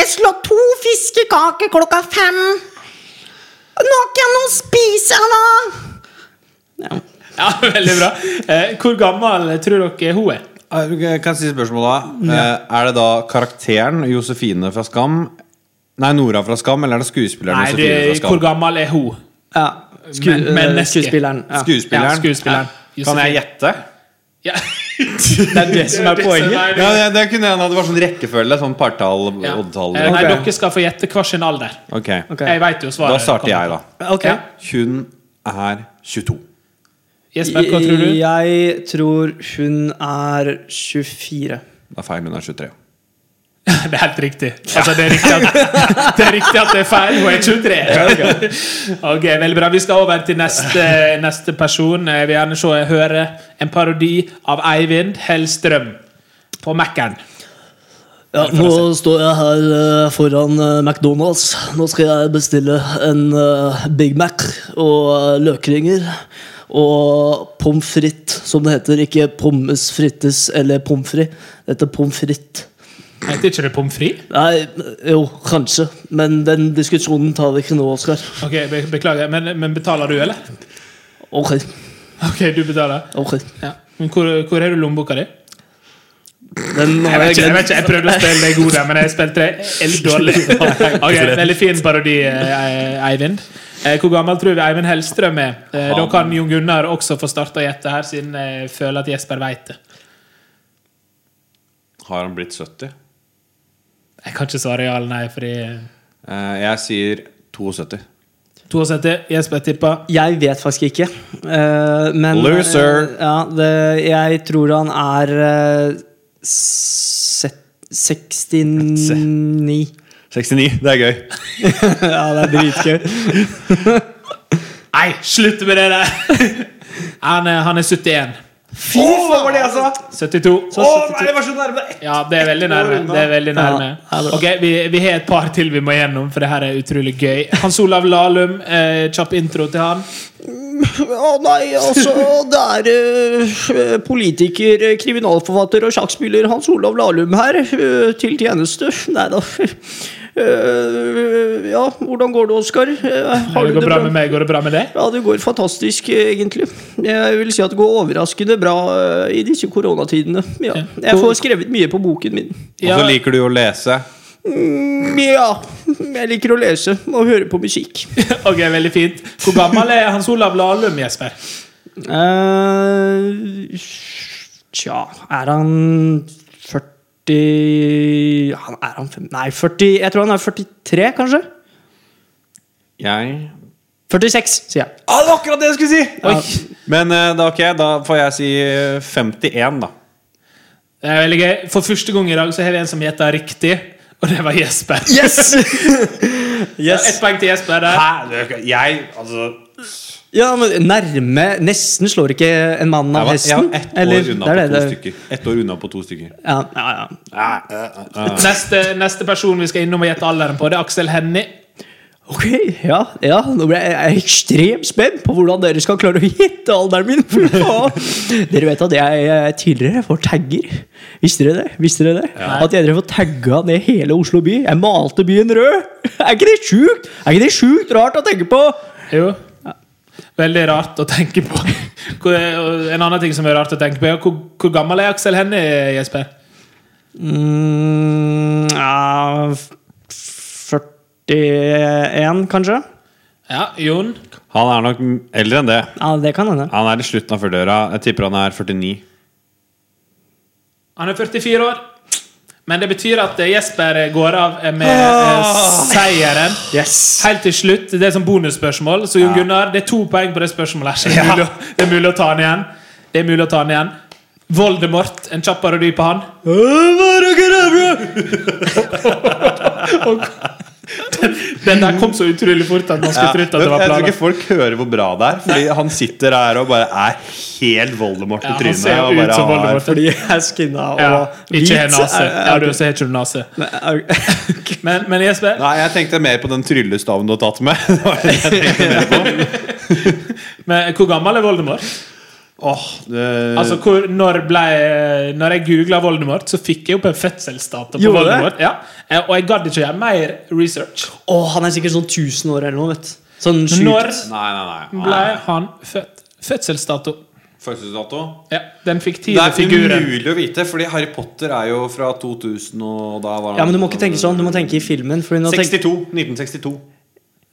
Speaker 4: Jeg slår to fiskekaker klokka fem. Nå kan noen spise da!
Speaker 3: Ja.
Speaker 1: Ja, Veldig bra. Eh, Hvor gammel tror dere hun er?
Speaker 2: Eh, Kan jeg si spørsmålet da? Eh, Er det da karakteren Josefine fra Skam Nei, Nora fra Skam, eller er det skuespilleren
Speaker 1: Nei,
Speaker 2: Josefine
Speaker 1: det,
Speaker 2: fra
Speaker 1: Hvor
Speaker 2: Skam?
Speaker 1: gammel er hun?
Speaker 3: ja. Sku
Speaker 1: Men- menneske.
Speaker 3: skuespilleren. Ja.
Speaker 2: Skuespilleren?
Speaker 1: Ja, skuespilleren.
Speaker 2: Kan jeg
Speaker 1: Josefine.
Speaker 2: gjette?
Speaker 1: Ja.
Speaker 3: Det er det som er poenget.
Speaker 2: Ja, det, det kunne jeg Det var sånn rekkefølge. Sånn partall,
Speaker 1: Ja.
Speaker 2: oddetall
Speaker 1: Eh, Nei,
Speaker 3: Ok.
Speaker 1: dere skal få gjette hver sin alder.
Speaker 2: Ok.
Speaker 3: Ok.
Speaker 1: Jeg vet jo svaret.
Speaker 2: Da starter jeg, da.
Speaker 3: Ok.
Speaker 1: Ja.
Speaker 2: Hun er 22.
Speaker 1: Jesper, hva tror du?
Speaker 3: Jeg tror hun er 24.
Speaker 2: Det er feil, hun er 23.
Speaker 1: Det er helt riktig. Altså, det, er riktig at, det er riktig at det er feil. Hun er 23. Ok, Veldig bra. Vi skal over til neste, neste person. Jeg vil gjerne se, høre en parodi av Eivind Hellstrøm på Mac-en.
Speaker 5: Ja, nå står jeg her eh, foran eh, McDonald's. Nå skal jeg bestille en eh, Big Mac og eh, løkringer. Og pommes frites, som det heter. Ikke pommes frites eller pommes frites. Det heter pommes frites.
Speaker 1: Heter ikke det pommes frites?
Speaker 5: Nei, jo, kanskje. Men den diskusjonen tar vi ikke nå, Oskar.
Speaker 1: Ok, be beklager, men, men betaler du, eller?
Speaker 5: Ok,
Speaker 1: Ok, du betaler.
Speaker 5: ok.
Speaker 1: Ja. Men hvor, hvor har du lommeboka di?
Speaker 5: Den
Speaker 1: Jeg
Speaker 5: har
Speaker 1: vet ikke, jeg,
Speaker 5: jeg glemt.
Speaker 1: vet ikke, jeg prøvde å spille deg god der, men jeg spilte helt dårlig. Ok, Veldig fin parodi, eh, Eivind. Eh, Hvor gammel tror vi Eivind Hellstrøm er? Eh, Da kan Jon Gunnar også få starte å gjette her, siden jeg føler at Jesper veit det.
Speaker 2: Har han blitt 70?
Speaker 1: Jeg kan ikke svare ja eller nei, fordi
Speaker 2: Eh, jeg sier 72.
Speaker 1: 72. Jesper tippa.
Speaker 3: Jeg vet faktisk ikke. eh, men eh,
Speaker 2: Loser.
Speaker 3: ja, det, jeg tror han er eh, 70 69.
Speaker 2: 69. Det er gøy.
Speaker 3: ja, det er dritgøy.
Speaker 1: Nei, slutt med det der! han, er, han er 71.
Speaker 2: Fy faen, var det jeg sa!
Speaker 1: 72.
Speaker 2: Å, nei, det var så nærme!
Speaker 1: Ja, det er veldig nærme. Det er veldig nærme. Ok, vi, vi har et par til vi må gjennom, for det her er utrolig gøy. Hans Olav Lahlum, eh, kjapp intro til han.
Speaker 5: Å nei, altså Det er eh, politiker, eh, kriminalforfatter og sjakkspiller Hans Olav Lahlum her. eh, til tjeneste. Nei da. Eh, ja, hvordan går det, Oskar? Eh, har
Speaker 1: Går
Speaker 5: du
Speaker 1: det bra med meg? Går det bra med deg?
Speaker 5: Ja, det går fantastisk, eh, egentlig. Jeg vil si at det går overraskende bra eh, i disse koronatidene. Ja. Jeg får skrevet mye på boken min.
Speaker 2: Og så liker du jo å lese.
Speaker 5: Mm, Ja, jeg liker å lese og høre på musikk.
Speaker 1: Ok, veldig fint. Hvor gammel er Hans Olav Lahlum, Jesper?
Speaker 3: Eh, tja, er han 40 han, Er han 5 Nei, 40, jeg tror han er 43, kanskje?
Speaker 2: Jeg
Speaker 3: 46, sier jeg.
Speaker 2: Ja, det var akkurat det jeg skulle si! Oi. Men eh, da, ok, da får jeg si eh, 51, da.
Speaker 1: Det er veldig gøy. For første gang i dag så har vi en som gjetter riktig, og det var Jesper.
Speaker 3: Yes!
Speaker 1: Ett poeng til Jesper der.
Speaker 2: Hæ? Jeg Altså
Speaker 3: Ja, men nærme Nesten slår ikke en mann
Speaker 2: Jeg
Speaker 3: av
Speaker 2: var, jeg
Speaker 3: hesten.
Speaker 2: var ett år,
Speaker 3: eller?
Speaker 2: unna
Speaker 3: Det
Speaker 2: på
Speaker 3: er det
Speaker 2: to
Speaker 3: det-
Speaker 2: stykker. Ett år unna på to stykker.
Speaker 3: Ja, ja, ja.
Speaker 1: Neste, neste person vi skal innom og gjette alderen på, det er Aksel Hennie.
Speaker 5: Ok, ja, ja, nå ble jeg- jeg er ekstremt spent på hvordan dere skal klare å gjette alderen min. fy faen. Dere vet at jeg eh, tidligere får tagger. Visste dere det? Visste dere det? At jeg drev og tagga ned hele Oslo by. Jeg malte byen rød. Er ikke det sjukt? Er ikke det sjukt rart å tenke på?
Speaker 1: Jo. Veldig rart å tenke på. Hvor- og En annen ting som er rart å tenke på, er hvor, hvor gammel er Aksel Hennie, Jesper?
Speaker 3: Mm, ja, f- 41, kanskje?
Speaker 1: Ja, Jon?
Speaker 2: Han er nok m- eldre enn det.
Speaker 3: Ja, det kan hende.
Speaker 2: Han er i slutten av 40-åra. Jeg tipper han er 49.
Speaker 1: Han er 44 år. Men det betyr at eh, Jesper går av eh, med eh, seieren.
Speaker 3: Yes!
Speaker 1: Helt til slutt, det er sånn bonusspørsmål. Så Jon Gunnar, det er to poeng på det spørsmålet. her så Det er mulig, å- det er mulig å ta han igjen. Det er mulig å ta han igjen. Voldemort, en kjapp parodi på han. Den der kom så utrolig fort at man skulle trodd at det var
Speaker 2: jeg tror
Speaker 1: planer.
Speaker 2: ikke folk hører hvor bra det er. Fordi han sitter her og bare er helt Voldemort
Speaker 1: Ja,
Speaker 2: i
Speaker 1: han
Speaker 2: trynet.
Speaker 1: ser jo
Speaker 2: og
Speaker 1: ut
Speaker 2: bare
Speaker 1: som
Speaker 2: har-
Speaker 1: Voldemort.
Speaker 3: Fordi jeg er skinna og
Speaker 1: Ja, ikke har nase.
Speaker 3: er-
Speaker 1: Ja, du så har ikke du nase.
Speaker 3: er- er-
Speaker 1: Men, men Jesper,
Speaker 2: Nei, jeg tenkte mer på den tryllestaven du har tatt med. Det var det jeg tenkte mer på.
Speaker 1: men, hvor gammel er Voldemort?
Speaker 2: Åh, det...
Speaker 1: Altså, hvor, når, ble, når jeg googla Voldemort, så fikk jeg opp en fødselsdato. på
Speaker 3: Gjorde det?
Speaker 1: Voldemort ja. Eh, Og jeg gadd ikke å gjøre mer research.
Speaker 3: Å, han er sikkert sånn 1000 år eller noe, vet du. Sånn sjukt.
Speaker 1: Når
Speaker 2: Nei, nei,
Speaker 1: ble
Speaker 2: nei.
Speaker 1: han født? Fødselsdato.
Speaker 2: Fødselsdato?
Speaker 1: Ja, den
Speaker 2: Det
Speaker 1: fiktive
Speaker 2: er
Speaker 1: figuren.
Speaker 2: umulig å vite, fordi Harry Potter er jo fra 2000 og da var han
Speaker 3: Ja, men du må ikke tenke sånn, du må tenke i filmen. Fordi nå tenk,
Speaker 2: 62. 1962.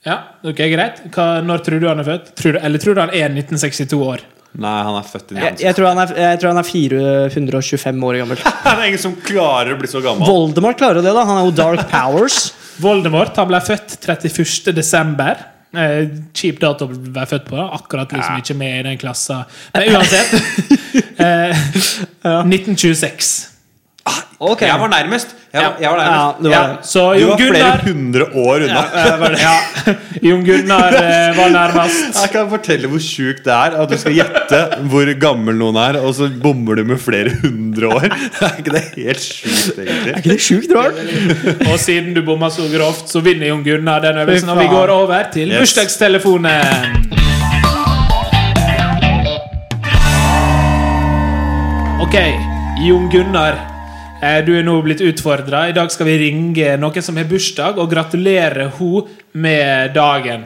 Speaker 1: Ja, ok, greit Hva, Når tror du han er født? Tror du, eller tror du han er 1962 år?
Speaker 2: Nei, han er født i
Speaker 3: jeg,
Speaker 2: 1962.
Speaker 3: jeg, tror han er, jeg tror han er 425 år gammel.
Speaker 2: Det er ingen som klarer å bli så gammel.
Speaker 3: Voldemort klarer jo det, da. Han er jo Dark Powers.
Speaker 1: Voldemort han ble født 31. desember. Eh, kjip dato å være født på. da. Akkurat liksom ikke med i den klassa. Men uansett eh, 1926.
Speaker 3: Ok.
Speaker 2: Jeg var nærmest. Jeg,
Speaker 1: Ja.
Speaker 2: var- jeg var
Speaker 3: Ja,
Speaker 2: nærmest.
Speaker 3: det
Speaker 1: Ja,
Speaker 3: var det.
Speaker 1: så
Speaker 2: Du
Speaker 1: Jon
Speaker 2: var flere
Speaker 1: Gunnar,
Speaker 2: hundre år unna.
Speaker 1: Jon Gunnar eh, var nærmest.
Speaker 2: Jeg kan fortelle hvor sjukt det er at du skal gjette hvor gammel noen er, og så bommer du med flere hundre år. Er ikke det helt sjukt,
Speaker 3: Er
Speaker 2: egentlig?
Speaker 3: ikke det sjukt rart?
Speaker 1: Og siden du bomma så grovt, så vinner Jon Gunnar den øvelsen. Og vi
Speaker 3: faen.
Speaker 1: går over til
Speaker 2: Yes.
Speaker 1: bursdagstelefonen. Ok, Jon Gunnar. eh, Du er nå blitt utfordra. I dag skal vi ringe noen som har bursdag, og gratulere hun med dagen.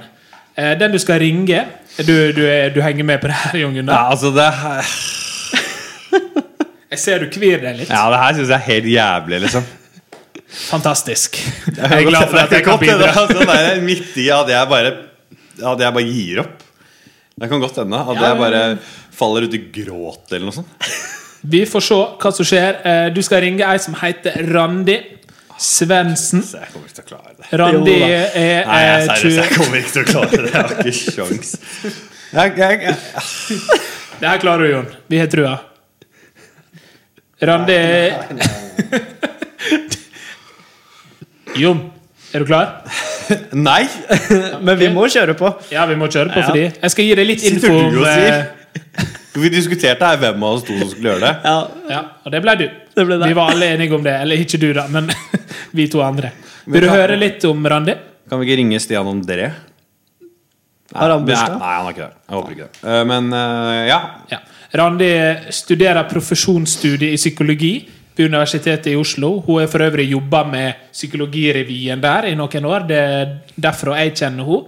Speaker 1: Eh, Den du skal ringe Du, du, er- du henger med på det her, Jon Gunnar?
Speaker 2: altså det her-
Speaker 1: Jeg ser du kvir deg litt.
Speaker 2: Ja, det her syns jeg er helt jævlig, liksom.
Speaker 1: Fantastisk. Jeg er glad for at jeg kan
Speaker 2: Det er
Speaker 1: bidra.
Speaker 2: godt hende, altså, det er midt i at jeg bare At jeg bare gir opp. Det kan godt hende at
Speaker 1: Ja,
Speaker 2: jeg bare
Speaker 1: men-
Speaker 2: faller ut i gråt eller noe sånt.
Speaker 1: Vi får se hva som skjer. Eh, Du skal ringe ei som heter Randi Svendsen.
Speaker 2: Så Altså, jeg kommer ikke til å klare det.
Speaker 1: Randi
Speaker 3: Jo da.
Speaker 1: er
Speaker 2: Nei, jeg,
Speaker 1: eh,
Speaker 2: er seriøs,
Speaker 1: 20
Speaker 2: jeg kommer ikke til å klare det. Jeg har ikke sjans. Jeg, jeg, jeg,
Speaker 1: Det her klarer du, Jon. Vi har trua. Randi Jon, er du klar?
Speaker 2: Nei!
Speaker 3: Men vi må kjøre på.
Speaker 1: Ja, vi må kjøre på, fordi jeg skal gi deg litt info.
Speaker 2: Sitter du
Speaker 1: om,
Speaker 2: og sier?
Speaker 1: eh,
Speaker 2: Vi diskuterte her hvem av oss to som skulle gjøre det.
Speaker 3: Ja,
Speaker 1: Ja, Og det ble du.
Speaker 3: Det ble deg.
Speaker 1: Vi var alle enige om det. Eller ikke du, da, men vi to andre.
Speaker 2: Men
Speaker 1: Vil du
Speaker 2: kan-
Speaker 1: høre litt om Randi?
Speaker 2: Kan vi ikke ringe Stian André?
Speaker 3: Har han
Speaker 2: nei,
Speaker 3: bursdag?
Speaker 2: nei, han har ikke det. Jeg håper ikke det. Eh, Men eh, ja.
Speaker 1: Ja. Randi studerer profesjonsstudie i psykologi på Universitetet i Oslo. Hun har for øvrig jobba med Psykologirevyen der i noen år. Det er derfra jeg kjenner henne.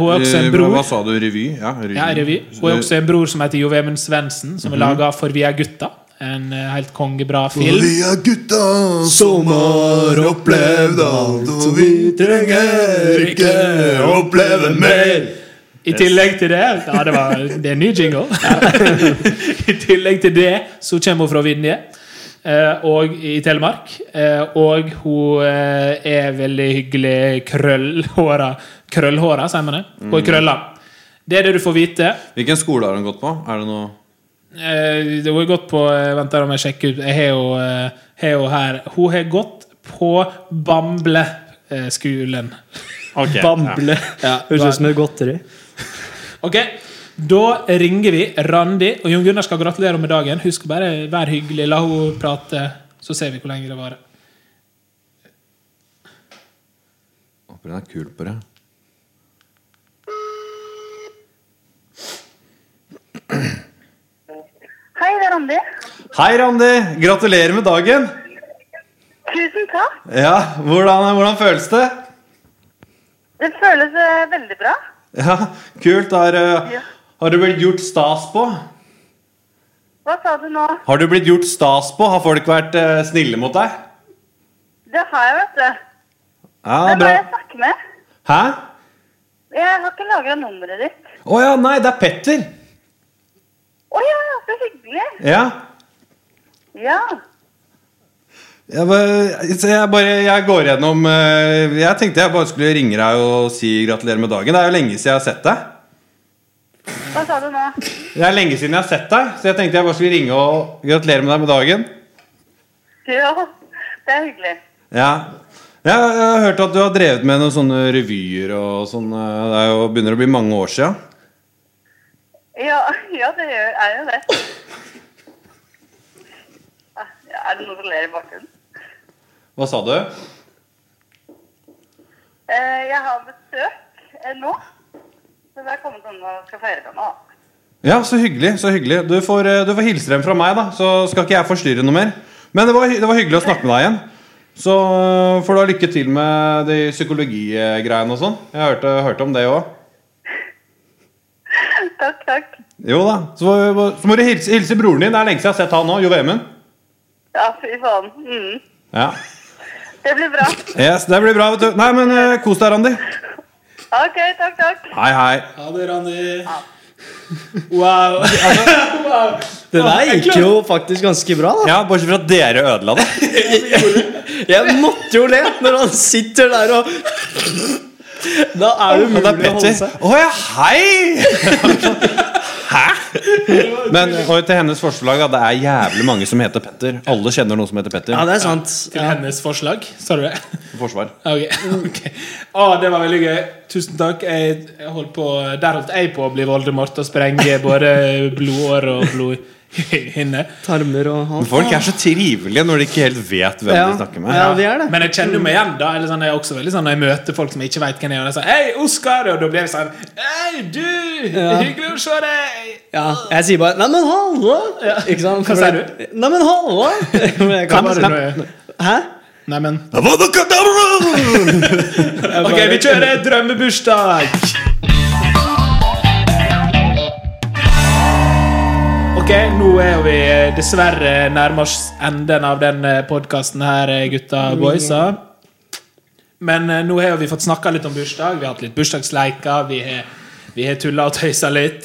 Speaker 1: Hun er også en
Speaker 2: Eh,
Speaker 1: bror
Speaker 2: Hva sa du? Revy? Ja, revy. Eh,
Speaker 1: Ja, revy. Hun er også en bror som heter Jo Vemund Svendsen, som har laga 'For vi er gutta'. En eh, helt kongebra film.
Speaker 6: er gutta som har opplevd alt, og vi trenger ikke oppleve mer.
Speaker 1: I tillegg til det Ja, det, var, det er en ny jingle. I tillegg til det så kommer hun fra Vinje. eh, Og i Telemark. eh, Og hun eh, er veldig hyggelig krøllhåra. Krøllhåra, sier man det? Hun er krølla. Det er det du får vite.
Speaker 2: Hvilken skole har han gått på? Er det noe
Speaker 1: Eh, Det har gått på eh, Vent, da må jeg sjekke ut. Jeg har jo, eh, har jo her Hun har gått på eh, Bamble-skolen.
Speaker 2: Ok, ja.
Speaker 3: Bamble. Høres ut som et godteri.
Speaker 1: Ok, da ringer vi Randi. Og Jon Gunnar skal gratulere med dagen. Husk å bare vær hyggelig. La henne prate, så ser vi hvor lenge det varer.
Speaker 2: Håper hun er kul på det.
Speaker 7: Hei, det er Randi.
Speaker 2: Hei, Randi! Gratulerer med dagen!
Speaker 7: Tusen takk.
Speaker 2: Ja, Hvordan, hvordan føles det?
Speaker 7: Det føles eh, veldig bra.
Speaker 2: Ja, Kult. Har, eh,
Speaker 7: Ja.
Speaker 2: har du blitt gjort stas på?
Speaker 7: Hva sa du nå?
Speaker 2: Har du blitt gjort stas på? Har folk vært eh, snille mot deg?
Speaker 7: Det har jeg, vet du.
Speaker 2: Ja, det er
Speaker 7: Hvem
Speaker 2: bra.
Speaker 7: er jeg snakker med?
Speaker 2: Hæ?
Speaker 7: Jeg har ikke lagra nummeret ditt.
Speaker 2: Å ja, nei, det er Petter.
Speaker 7: Å ja, så hyggelig.
Speaker 2: Ja.
Speaker 7: Ja.
Speaker 2: Jeg, bare, så jeg, bare, jeg går gjennom eh, Jeg tenkte jeg bare skulle ringe deg og si gratulerer med dagen. Det er jo lenge siden jeg har sett deg.
Speaker 7: Hva sa du nå?
Speaker 2: Det er lenge siden jeg har sett deg, så jeg tenkte jeg bare skulle ringe og gratulere med deg med dagen.
Speaker 7: Ja, det er hyggelig.
Speaker 2: Ja. Jeg jeg har hørt at du har drevet med noen sånne revyer og sånn. eh, Det er jo, begynner å bli mange år sia.
Speaker 7: Ja, ja det gjør, er jo det. Ah, Ja, Er det noen som ler i bakgrunnen?
Speaker 2: Hva sa du?
Speaker 7: Eh, Jeg har besøk eh, nå. Så det er kommet noen og skal feire meg. da.
Speaker 2: Ja, så hyggelig. så hyggelig Du får, eh, du får hilse dem fra meg, da. Så skal ikke jeg forstyrre noe mer. Men det var, hy- det var hyggelig å snakke med deg igjen. Så eh, får du ha lykke til med de psykologigreiene og sånn. Jeg hørte, hørte om det òg.
Speaker 7: Takk, takk.
Speaker 2: Jo da. Så, så må du hilse, hilse broren din. Det er lenge siden jeg har sett han nå. Jo Vemund.
Speaker 7: Ja, fy faen. Mm.
Speaker 2: Ja.
Speaker 7: Det blir bra.
Speaker 2: Yes, det blir bra, vet du. Nei, men eh, kos deg, Randi.
Speaker 7: OK, takk, takk.
Speaker 2: Hei, hei.
Speaker 1: Ha det, Randi. Wow.
Speaker 3: Det der gikk jo faktisk ganske bra. da
Speaker 2: Ja, Bortsett fra at dere ødela det.
Speaker 3: Jeg måtte jo le når han sitter der og Da er det
Speaker 2: Ja, det er
Speaker 3: umulig å holde
Speaker 2: Petter.
Speaker 3: seg.
Speaker 2: Å ja, hei! Hæ? Men og til hennes forslag, da. Det er jævlig mange som heter Petter. Alle kjenner noen som heter Petter.
Speaker 3: Ja, det er sant.
Speaker 1: Til hennes forslag, sa du det?
Speaker 2: Forsvar.
Speaker 1: Ok. ok. Å, det var veldig gøy. Tusen takk. Jeg, jeg holdt på, der holdt jeg på å bli Voldemort og sprenge både blodår og blodhinne.
Speaker 3: Tarmer og alt.
Speaker 2: Folk er så trivelige når de ikke helt vet hvem
Speaker 3: Ja.
Speaker 2: de snakker med.
Speaker 3: Ja, vi er det. Mm.
Speaker 1: Men jeg kjenner jo meg igjen. da Eller sånn, Jeg er også veldig sånn Når jeg møter folk som jeg ikke vet hvem er, og de sier 'Hei, Oskar!' Og da blir jeg sånn 'Hei, du! Hyggelig å se deg!'
Speaker 3: Ja, jeg sier bare 'nei, men halla'. Ikke sant?
Speaker 1: Hva sier du?
Speaker 3: Fordi- Nei, men halla. Men jeg kan
Speaker 1: Hva
Speaker 3: bare-
Speaker 1: var det nå?
Speaker 3: Hæ?
Speaker 1: Nei, men
Speaker 6: Avadakadabra!
Speaker 1: Ok, vi kjører drømmebursdag! Ok, nå er vi eh, dessverre nærmest enden av den podkasten her, eh, gutta boysa. Men eh, nå har vi fått snakka litt om bursdag. Vi har hatt litt bursdagsleiker. Vi har, vi har tulla og tøysa litt.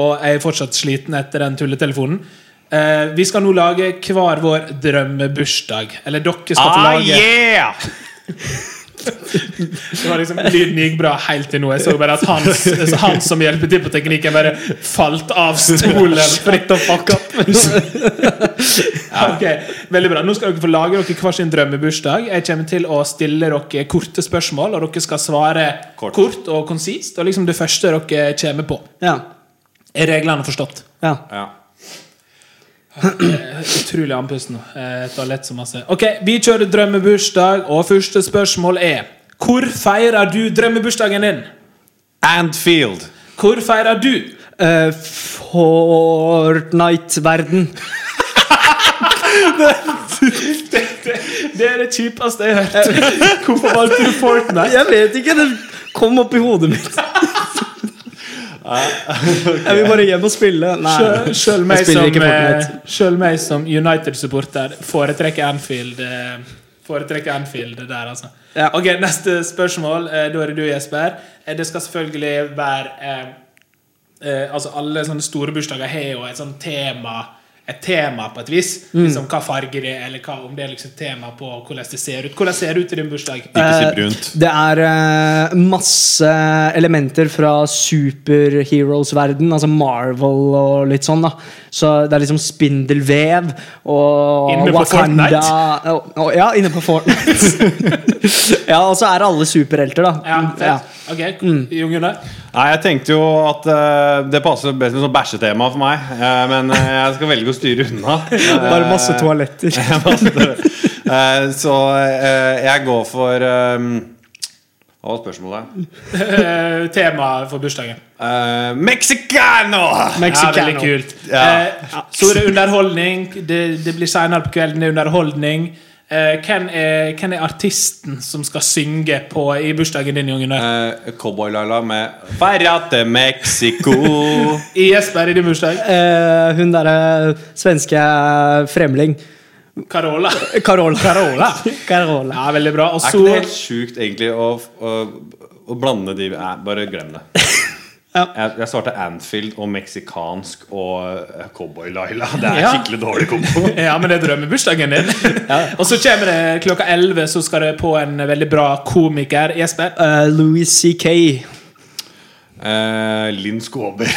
Speaker 1: Og jeg er fortsatt sliten etter den tulletelefonen. Eh, vi skal nå Ah, lage hver vår drømmebursdag. Eller dere skal få
Speaker 2: Ah,
Speaker 1: lage
Speaker 2: yeah!
Speaker 1: Det var liksom, lyden gikk bra helt til nå. Jeg så bare at Hans, altså han som hjelper til på teknikken, bare falt av stolen. Fritt og fuck up. Ok, Veldig bra. Nå skal dere få lage dere hver sin drømmebursdag. Jeg kommer til å stille dere korte spørsmål, og dere skal svare
Speaker 2: Kort.
Speaker 1: kort, og konsist. Og liksom det første dere kommer på.
Speaker 3: Ja.
Speaker 1: Er reglene forstått?
Speaker 3: ja.
Speaker 2: Ja.
Speaker 1: Utrolig andpusten. Eh, etter å ha lett så masse. Ok, Vi kjører drømmebursdag, og første spørsmål er Hvor feirer du drømmebursdagen din?
Speaker 2: Antfield.
Speaker 1: Hvor feirer du?
Speaker 3: Eh, Fortnite-verden.
Speaker 1: Det er det altså. kjipeste jeg har hørt. Hvorfor valgte du Fortnite?
Speaker 3: Jeg vet ikke, det kom opp i hodet mitt. Jeg vil bare hjem og spille. Nei.
Speaker 1: Sjøl- Sjøl meg,
Speaker 3: Jeg spiller
Speaker 1: som,
Speaker 3: ikke
Speaker 1: eh,
Speaker 3: Fortnite.
Speaker 1: sjøl meg som United-supporter foretrekker Anfield. eh, Foretrekker Anfield der, altså.
Speaker 3: Ja.
Speaker 1: Ok, Neste spørsmål. eh, Da er det du, Jesper. Eh, Det skal selvfølgelig være eh, eh, Altså Alle sånne store bursdager har jo et sånt tema Et tema på et vis.
Speaker 3: Mm.
Speaker 1: Liksom Hva farge det er, eller hva, om det er liksom tema på hvordan det ser ut. Hvordan ser det ut i din bursdag?
Speaker 2: Ikke si
Speaker 3: Eh,
Speaker 2: brunt.
Speaker 3: Det er eh, masse elementer fra superheroes-verden, altså Marvel og litt sånn. da Så det er liksom spindelvev og
Speaker 1: Inne på Fortnite?
Speaker 3: Og, og, ja, inne på Fortnite. ja, og så er alle superhelter, da.
Speaker 1: Ja, fett. Ok,
Speaker 3: Mm.
Speaker 1: Jon Gunnar?
Speaker 2: Nei, jeg tenkte jo at eh, det passer best med sånn bæsjetema for meg. eh, men eh, jeg skal velge å styre unna.
Speaker 3: Bare masse toaletter.
Speaker 2: Eh, så eh, jeg går for eh, Hva var spørsmålet?
Speaker 1: Eh, tema for bursdagen.
Speaker 2: Eh, Mexicano!
Speaker 1: Ja,
Speaker 3: Mexicano.
Speaker 1: veldig kult.
Speaker 2: Ja.
Speaker 1: Eh, så er det underholdning. Det, det blir senere på kvelden, det er underholdning. Eh, hvem, er, hvem er artisten som skal synge på, i bursdagen din, Jon Gunnar?
Speaker 2: Eh, Cowboy-Laila med Ferja til Mexico.
Speaker 1: I Jesper i din bursdag?
Speaker 3: Eh, hun derre svenske fremling.
Speaker 1: Carola.
Speaker 3: Carola.
Speaker 1: Carola.
Speaker 3: Carola.
Speaker 1: Ja, veldig bra. Og
Speaker 2: Er
Speaker 1: så
Speaker 2: ikke det helt sjukt, egentlig, å, å, å blande de Nei, bare glem det.
Speaker 3: Ja.
Speaker 2: Jeg, jeg svarte Anfield og meksikansk og eh, Cowboy-Laila. Det er
Speaker 1: Ja.
Speaker 2: skikkelig dårlig kombo.
Speaker 1: ja, men det er drømmebursdagen din. Og så kommer det klokka 11 så skal det på en veldig bra komiker. Jesper?
Speaker 3: Eh, Louis C.K.
Speaker 2: Eh, Linn Skåber.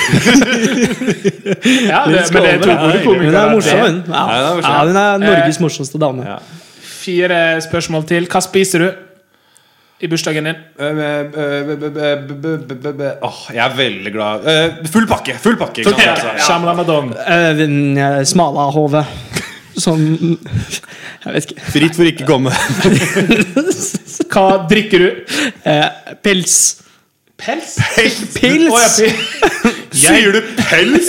Speaker 1: Ja, det, men det er to gode
Speaker 2: Skåber, ja,
Speaker 3: Hun
Speaker 1: komikere.
Speaker 3: er morsom, hun. Ja.
Speaker 2: Ja, hun er morsom.
Speaker 3: Ja, hun er
Speaker 1: Eh,
Speaker 3: Norges morsomste dame.
Speaker 2: Ja.
Speaker 1: Fire spørsmål til. Hva spiser du i bursdagen din?
Speaker 2: Eh, eh, eh, eh, eh, eh, eh, eh, Åh, jeg er veldig glad Eh, Full pakke! Full pakke! ikke sant, altså? Ja.
Speaker 1: Shamla Madong.
Speaker 3: Eh, den, eh, Smalahove. Som Jeg vet ikke.
Speaker 2: Fritt for ikke komme.
Speaker 1: Hva drikker du?
Speaker 3: Eh, pils.
Speaker 1: Pels?
Speaker 3: Pils!
Speaker 1: Å, ja, pils.
Speaker 2: Sier du pels?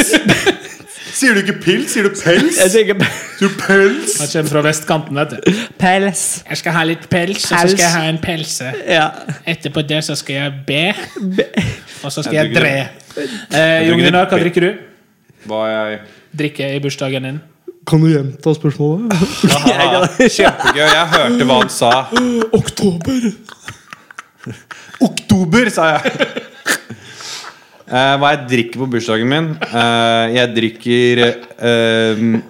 Speaker 2: Sier du ikke pils? Sier du pels?
Speaker 3: Jeg tenker p-
Speaker 2: Sier du pels?
Speaker 1: Han kommer fra vestkanten, vet du.
Speaker 3: pels.
Speaker 1: Jeg skal ha litt pels, og så
Speaker 3: Pels.
Speaker 1: skal jeg ha en pelse.
Speaker 3: Ja.
Speaker 1: Etterpå det så skal jeg be, og så skal
Speaker 2: Jeg
Speaker 1: jeg
Speaker 2: drikker
Speaker 1: dre. Eh, Jon
Speaker 2: drikker
Speaker 1: Gunnar,
Speaker 2: det.
Speaker 1: hva drikker du?
Speaker 2: Hva er jeg?
Speaker 1: Drikke i bursdagen din.
Speaker 5: Kan du gjenta spørsmålet?
Speaker 2: Aha, kjempegøy. Jeg hørte hva han sa.
Speaker 5: Oktober.
Speaker 2: Oktober, sa jeg. Eh, hva jeg drikker på bursdagen min? Eh, jeg drikker eh,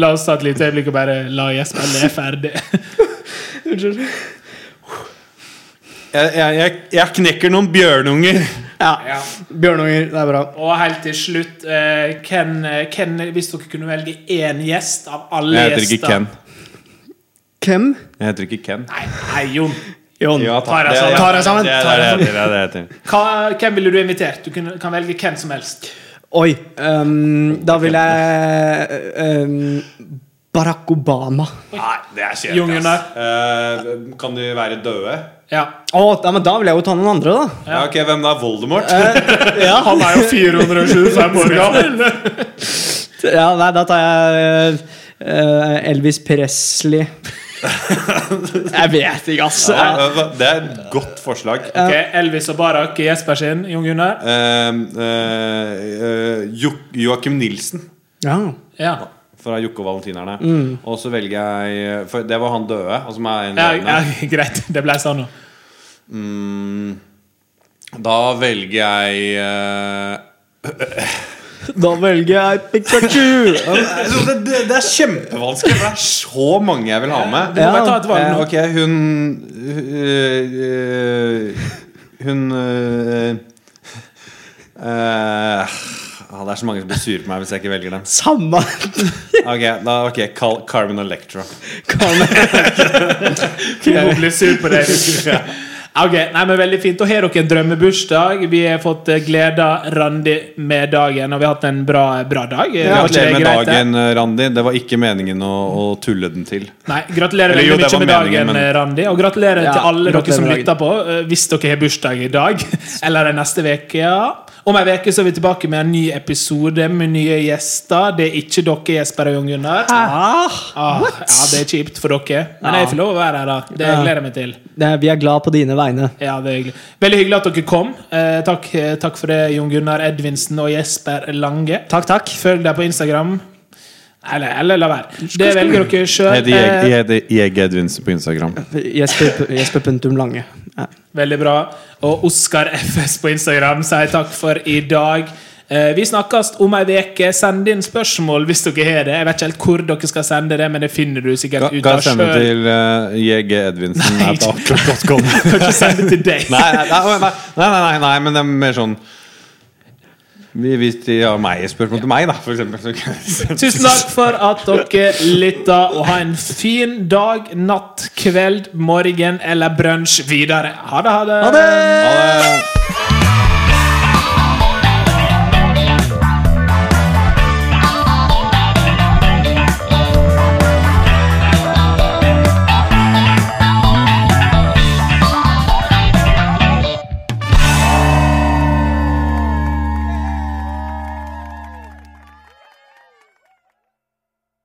Speaker 1: La oss ta et lite øyeblikk og bare la Jesper le ferdig.
Speaker 2: jeg, eh, jeg, jeg, jeg knekker noen bjørnunger.
Speaker 3: ja. Bjørnunger, det er bra.
Speaker 1: Og helt til slutt, eh, Ken, eh, Ken, hvis dere kunne velge én gjest av alle
Speaker 2: Jeg heter ikke
Speaker 1: gjester
Speaker 2: Ken.
Speaker 3: Hvem?
Speaker 2: Jeg heter ikke Ken.
Speaker 1: Nei, nei, Jon.
Speaker 3: Jon.
Speaker 2: Ja,
Speaker 1: Ta deg
Speaker 2: Det-
Speaker 1: sammen. Ta deg sammen.
Speaker 2: Det
Speaker 1: Ta deg
Speaker 2: er det jeg heter, det er det jeg heter.
Speaker 1: Hva, hvem ville du invitert? Du kunne, kan velge hvem som helst.
Speaker 3: Oi. ehm, da vil jeg ehm, Barack Obama.
Speaker 2: Nei, det er
Speaker 1: Jon
Speaker 2: kjedelig. ass. Eh, kan de være døde?
Speaker 1: Ja.
Speaker 3: Å, da, men da vil jeg jo ta noen andre, da.
Speaker 2: Ja, Eh, ok, Hvem da? Voldemort?
Speaker 1: Han er jo 425 år gammel!
Speaker 3: Ja, nei, da tar jeg eh, Elvis Presley. jeg vet ikke, ass.
Speaker 2: Ja, hva- det er et godt forslag.
Speaker 1: Ok, Elvis og Barak i Jesper sin, Jon Gunnar.
Speaker 2: Eh, eh, jo Joakim Nilsen
Speaker 3: Ja.
Speaker 1: Ja.
Speaker 2: fra Jokke og Valentinerne. Og så velger jeg For det var han døde. Og som er en
Speaker 1: Ja,
Speaker 2: levende.
Speaker 1: ja, greit. Det ble sånn nå.
Speaker 2: Mm, da velger jeg eh,
Speaker 3: Da velger jeg Pikachu!
Speaker 2: Altså, Det, det, det er kjempevanskelig, for det er så mange jeg vil ha med.
Speaker 1: Du må bare ta et valg
Speaker 2: Eh,
Speaker 1: nå.
Speaker 2: ok, hun øh, øh, Hun øh, øh, ah, Det er så mange som blir sure på meg hvis jeg ikke velger dem.
Speaker 3: Samme
Speaker 2: Ok, da, ok, Cal Carmen Electra.
Speaker 1: Hun blir sur på deg. Ok, nei, men Veldig fint. Og har dere en drømmebursdag? Vi har fått eh, gleda Randi med dagen, og vi har hatt en bra, bra dag. Var ikke det
Speaker 2: Gratulerer med
Speaker 1: greit, eh. det?
Speaker 2: dagen, eh, Randi. Det var ikke meningen å, å tulle den til.
Speaker 1: Nei, Gratulerer
Speaker 2: Eller jo,
Speaker 1: veldig
Speaker 2: det
Speaker 1: mye
Speaker 2: var
Speaker 1: med dagen,
Speaker 2: meningen, men-
Speaker 1: Randi. Og gratulerer
Speaker 3: Ja,
Speaker 1: til alle dere
Speaker 3: gratulerer
Speaker 1: som
Speaker 3: med
Speaker 1: lytter på, eh, hvis dere har bursdag i dag eller den neste uke. Ja. Om ei uke er vi tilbake med en ny episode med nye gjester. Det er ikke dere, Jesper og Jon Gunnar.
Speaker 3: ah,
Speaker 1: Ah, ja, det er kjipt for dere, men jeg får lov å være her. da Det
Speaker 3: Ja.
Speaker 1: gleder jeg meg til.
Speaker 3: det, Vi er glad på dine vegne.
Speaker 1: Ja, det er hyggelig. Veldig hyggelig at dere kom. Eh, takk, eh, takk for det, Jon Gunnar Edvinsen og Jesper Lange.
Speaker 3: Takk, takk.
Speaker 1: Følg deg på Instagram. Eller, eller la være. Det velger dere Eh, sjøl.
Speaker 2: Jeg heter Jeg Edvinsen på Instagram.
Speaker 3: Jesper, Jesper Puntum Lange. Ja.
Speaker 1: veldig bra. Og Oskar FS på Instagram sier takk for i dag. Eh, vi snakkes om ei uke. Send inn spørsmål hvis dere har det. Jeg vet ikke helt hvor dere skal sende det, men det finner du sikkert ut
Speaker 2: Kan
Speaker 1: av
Speaker 2: jeg sende
Speaker 1: sjøl.
Speaker 2: til eh, JG Edvinsen
Speaker 1: Nei,
Speaker 2: at outlook.com. nei,
Speaker 1: Kan ikke sende det til deg.
Speaker 2: nei, nei, nei, nei, nei, nei, men det er mer sånn Vi- Hvis de har meg spørsmål til meg, da, for eksempel. Så kan jeg sende-
Speaker 1: Tusen takk for at dere lytta, og ha en fin dag, natt, kveld, morgen eller brunsj videre. Ha det, ha det!
Speaker 2: Ha det.